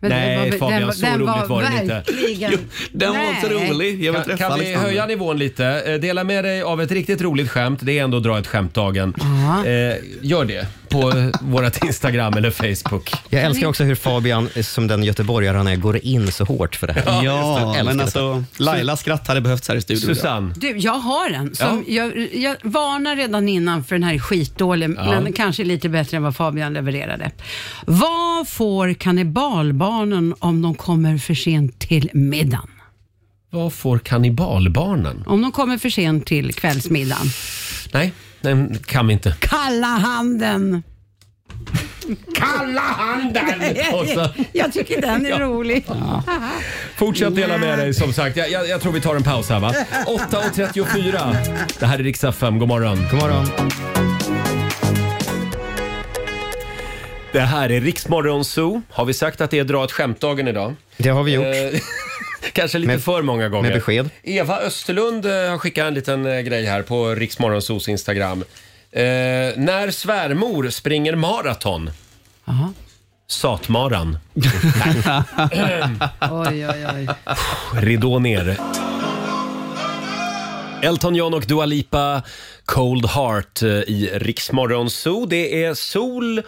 men Nej, det var, Fabian, den, var- så den roligt var den inte. verkligen... den var inte Nej. rolig. Jag vill kan träffa kan vi Alexander. höja nivån lite? Eh, Dela med dig av ett riktigt roligt skämt. Det är ändå dra ett skämt-dagen. Eh, gör det på eh, vårt Instagram eller Facebook. Jag älskar också hur Fabian, eh, som den göteborgare han är, går in så hårt för det här. Ja, Jag älskar men detta. alltså Lailas skratt hade behövts här i studion. idag. Susanne. Du, jag har en. Som jag, jag varnar redan innan för den här är skitdålig, Ja. men kanske lite bättre än vad Fabian levererade. Vad får kannibalbarnen om de kommer för sent till middagen? Vad får kannibalbarnen? Om de kommer för sent till kvällsmiddagen? Nej, den kan vi inte. Kalla handen! Kalla handen! Och så- jag tycker den är Ja. rolig. Fortsätt dela med dig som sagt. Jag, jag, jag tror vi tar en paus här va? 8.34. Det här är Riksdag 5. God morgon. God morgon. Det här är Riksmorgon Zoo. Har vi sagt att det är dra ett skämt-dagen idag? Det har vi gjort. Eh, Kanske lite för många gånger. med besked. Eva Österlund eh, har skickat en liten eh, grej här på Riksmorgonsos Instagram. Eh, när svärmor springer maraton. Aha. Satmaran. Oj, oj, oj. Ridå ner. Elton John och Dua Lipa, Cold Heart eh, i Riksmorgon Zoo. Det är sol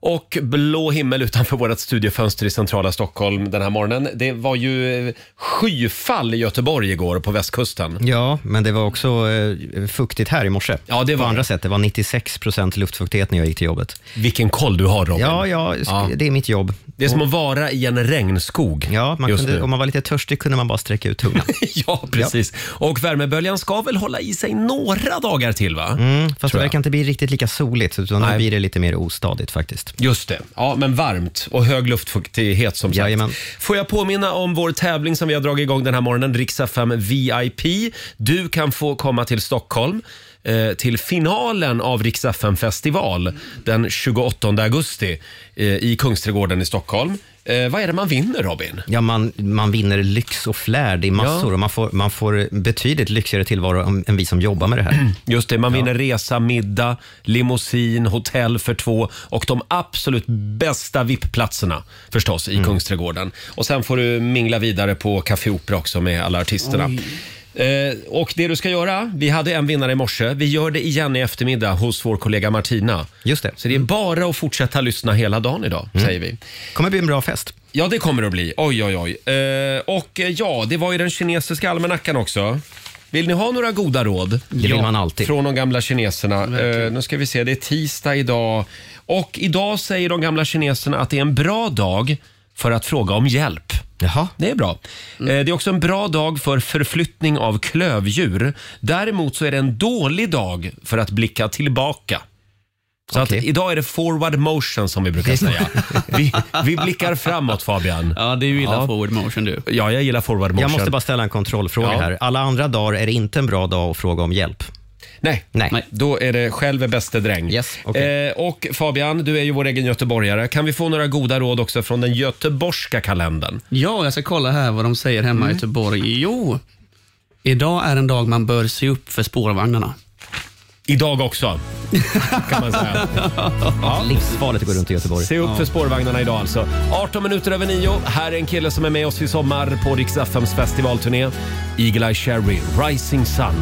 Och blå himmel utanför vårt studiofönster i centrala Stockholm den här morgonen. Det var ju eh, skyfall i Göteborg igår på västkusten. Ja, men det var också eh, fuktigt här i morse. Ja, det var På andra sätt, det var 96 procent luftfuktighet när jag gick till jobbet. Vilken koll du har, Robin. Ja, ja, sk- Mm. Ja. det är mitt jobb. Det är som att vara i en regnskog Ja, man just nu. kunde, om man var lite törstig kunde man bara sträcka ut tungan. Ja, precis. Och värmeböljan ska väl hålla i sig några dagar till, va? Mm, fast Tror det jag. verkar inte bli riktigt lika soligt, utan nu blir det lite mer ostadigt faktiskt. Just det. Ja, men varmt och hög luftfuktighet som sagt. Jajamän. Får jag påminna om vår tävling som vi har dragit igång den här morgonen, Rix FM VIP. Du kan få komma till Stockholm eh, till finalen av Rix FM festival den 28 augusti eh, i Kungsträdgården i Stockholm. Eh, vad är det man vinner, Robin? Ja, man, man vinner lyx och flärd i massor Ja. och man får, man får betydligt lyxigare tillvaro än- än vi som jobbar med det här. Just det, man vinner resa, middag, limousin, hotell för två och de absolut bästa VIP-platserna förstås i Mm. Kungsträdgården. Och sen får du mingla vidare på Café Opera också med alla artisterna. Eh, och det du ska göra, vi hade en vinnare i morse, vi gör det igen i eftermiddag hos vår kollega Martina. Just det. Mm. Så det är bara att fortsätta lyssna hela dagen idag, säger vi. kommer bli en bra fest. Ja, det kommer det att bli. Oj, oj, oj. Eh, och eh, ja, det var ju den kinesiska almanackan också. Vill ni ha några goda råd? Det vill man alltid. Från de gamla kineserna. Eh, nu ska vi se, det är tisdag idag. Och idag säger de gamla kineserna att det är en bra dag för att fråga om hjälp. Jaha. Det är bra. Eh, Det är också en bra dag för förflyttning av klövdjur. Däremot så är det en dålig dag för att blicka tillbaka. Så att idag är det forward motion som vi brukar säga. Vi, vi blickar framåt Fabian. Ja, det är ju illa forward motion du. Ja, jag gillar forward motion. Jag måste bara ställa en kontrollfråga Ja. här. Alla andra dagar är det inte en bra dag att fråga om hjälp. Nej, Nej. då är det själv är bäste dräng. Yes, okej. Eh, och Fabian, du är ju vår egen göteborgare. Kan vi få några goda råd också från den göteborgska kalendern? Ja, jag ska kolla här vad de säger hemma i Göteborg. Jo, idag är en dag man bör se upp för spårvagnarna. Idag också, kan man säga. Ja. Livsfarligt att gå runt i Göteborg. Se upp för spårvagnarna idag alltså. 18 minuter över 9. Här är en kille som är med oss i sommar på Rix FMs festivalturné. Eagle-Eye Cherry, Rising Sun.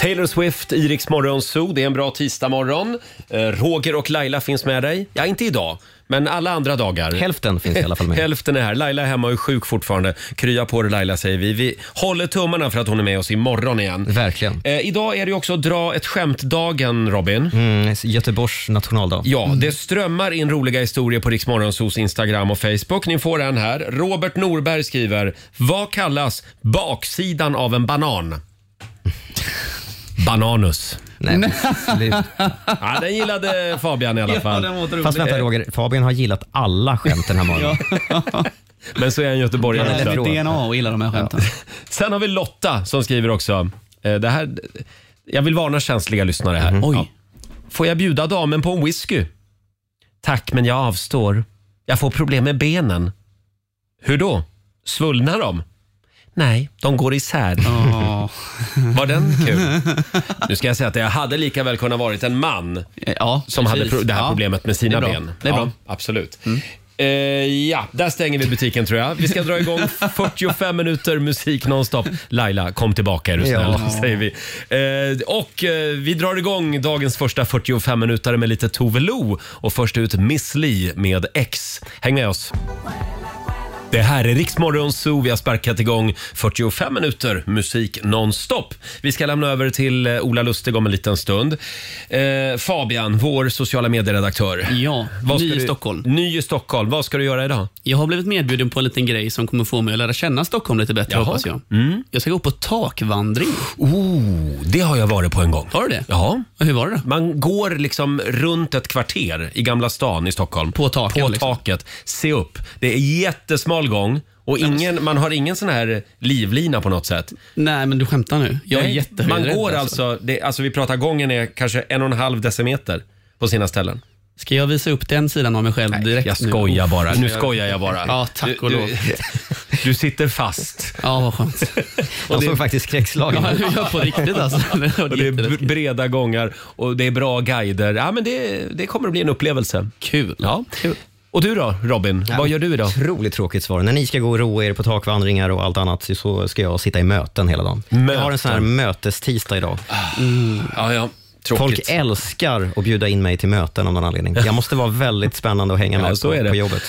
Taylor Swift, i Rix Morgon Zoo. Det är en bra tisdagmorgon. Eh, Roger och Laila finns med dig. Ja, inte idag, men alla andra dagar. Hälften finns i alla fall med. Hälften är här. Laila är hemma och är sjuk fortfarande. Krya på dig Laila, säger vi. Vi håller tummarna för att hon är med oss imorgon igen. Verkligen. Eh, idag är det ju också dra ett skämt-dagen, Robin. Mm, Göteborgs nationaldag. Ja, det strömmar in roliga historier på Riksmorgonsos Instagram och Facebook. Ni får en här. Robert Norberg skriver, vad kallas baksidan av en banan? Bananus. Nej, men sluta. Ja, den gillade Fabian i alla fall. Fast vänta Roger, Fabian har gillat alla skämt den här morgonen. Men så är han göteborgare Ja, det är också. lite DNA och gillar de här skämten. Sen har vi Lotta som skriver också. eh, Det här, jag vill varna känsliga lyssnare här. Mm-hmm. Ja. Får jag bjuda damen på en whisky? Tack, men jag avstår. Jag får problem med benen. Hur då? Svullnar de? Nej, de går isär. Var den kul? Nu ska jag säga att det hade lika väl kunnat varit en man som precis. hade pro- det här Ja. problemet med sina Det är bra. ben. Det är ja, bra. Absolut. Eh, ja, där stänger vi butiken tror jag. Vi ska dra igång 45 minuter musik nonstop. Laila, kom tillbaka är du snäll, Ja. säger vi. Eh, och eh, vi drar igång dagens första 45 minuter med lite Tove Lo och först ut Miss Li med X. Häng med oss. Det här är Riksmorgon Zoo. Vi har sparkat igång 45 minuter musik nonstop. Vi ska lämna över till eh, Ola Lustig om en liten stund. Eh, Fabian, vår sociala medieredaktör. Ja, ny ska i du- Stockholm. Ny i Stockholm. Vad ska du göra idag? Jag har blivit medbjuden på en liten grej som kommer få mig att lära känna Stockholm lite bättre hoppas jag. Jag ska gå på takvandring. Oh, det har jag varit på en gång. Har du det? Ja. Hur var det då? Man går liksom runt ett kvarter i Gamla stan i Stockholm. På taket? På liksom. taket. Se upp. Det är jättesmal gång och ingen, man har ingen sån här livlina på något sätt. Nej, men du skämtar nu. Jag är Nej, jättehöjdrädd. Man går alltså, det, alltså vi pratar gången är kanske en och en halv decimeter på sina ställen. Ska jag visa upp den sidan av mig själv direkt Jag skojar nu? bara. Nu skojar jag bara. Ja, tack och Du- lov. du- Du sitter fast. Ja, vad skönt. Och det- såg faktiskt skräckslagen Ja, ut. jag är på riktigt alltså. Det var Och det är br- breda gångar och det är bra guider. Ja, men det, det kommer att bli en upplevelse. Kul. Ja. Och du då, Robin? Vad gör du idag? Otroligt tråkigt svar. När ni ska gå och roa er på takvandringar och allt annat så ska jag sitta i möten hela dagen. Jag har en sån här mötestisdag idag. Ja, ja. Folk älskar att bjuda in mig till möten av någon anledning. Jag måste vara väldigt spännande att hänga med så på, är det. på jobbet.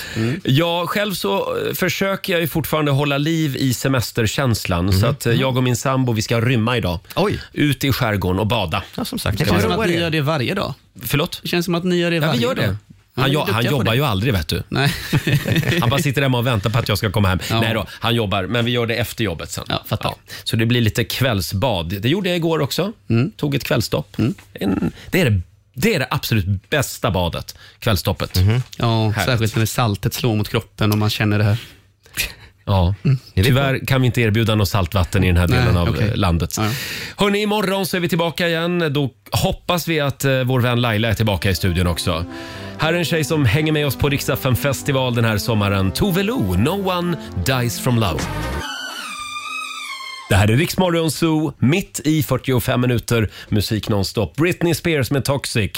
Ja, själv så eh, försöker jag ju fortfarande hålla liv i semesterkänslan. Så att eh, jag och min sambo, vi ska rymma idag. Oj. Ut i skärgården och bada. Ja, som sagt. Det känns som att ni gör det varje dag. Förlåt? Det känns som att ni gör det Ja, varje vi gör dag. det. Han, Ja, jo- ni är han duktiga på jobbar det. ju aldrig vet du. Nej. Han bara sitter hemma och väntar på att jag ska komma hem. Ja. Nej då, han jobbar, men vi gör det efter jobbet sen. Ja. Så det blir lite kvällsbad. Det gjorde jag igår också. Tog ett kvällsdopp. En, det, är det, det är det absolut bästa badet, kvällsdoppet. Ja, särskilt när saltet slår mot kroppen och man känner det här. Ja. Mm. Tyvärr kan vi inte erbjuda något saltvatten i den här delen Nej, av okej. eh, landet. Hörni, imorgon så är vi tillbaka igen. Då hoppas vi att eh, vår vän Laila är tillbaka i studion också. Här är en tjej som hänger med oss på Riksdagen festival den här sommaren. Tove Lo, No One Dies From Love. Det här är Riksmorgon Zoo, mitt i 45 minuter musik nonstop. Britney Spears med Toxic.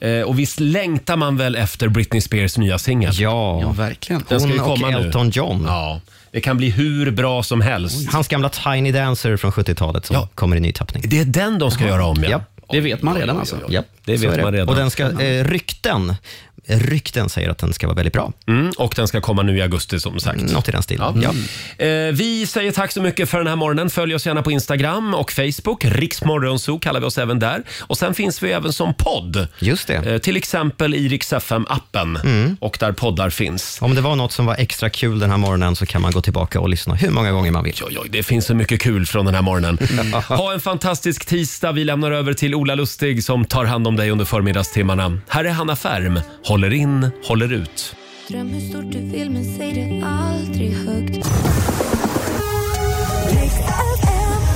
Eh, och visst längtar man väl efter Britney Spears nya singel? Ja, verkligen. Den ska ju Hon och komma nu. Elton John. Ja, det kan bli hur bra som helst. Hans gamla Tiny Dancer från 70-talet som kommer i ny tappning. Det är den de ska göra om, ja. Det vet man redan alltså. Ja, Det så vet är man redan. Och den ska, eh, rykten, rykten säger att den ska vara väldigt bra. Mm, och den ska komma nu i augusti som sagt. Något i den stilen. Ja. Eh, vi säger tack så mycket för den här morgonen. Följ oss gärna på Instagram och Facebook. Riksmorgonzoo kallar vi oss även där. Och sen finns vi även som podd. Just det. Eh, till exempel i Rix FM-appen Mm. och där poddar finns. Om det var något som var extra kul den här morgonen så kan man gå tillbaka och lyssna hur många gånger man vill. Oj, oj, det finns så mycket kul från den här morgonen. Ha en fantastisk tisdag. Vi lämnar över till Ola Lustig som tar hand om dig under förmiddagstimmarna. Här är Hanna Färm. Håller in, håller ut. Dröm hur stort du vill men säg det aldrig högt.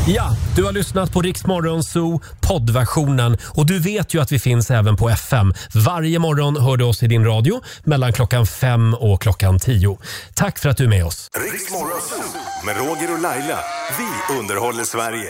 Ja, du har lyssnat på Rix Morgon Zoo poddversionen och du vet ju att vi finns även på FM. Varje morgon hör du oss i din radio mellan klockan fem och klockan tio. Tack för att du är med oss. Riks Morgonzoo med Roger och Laila. Vi underhåller Sverige.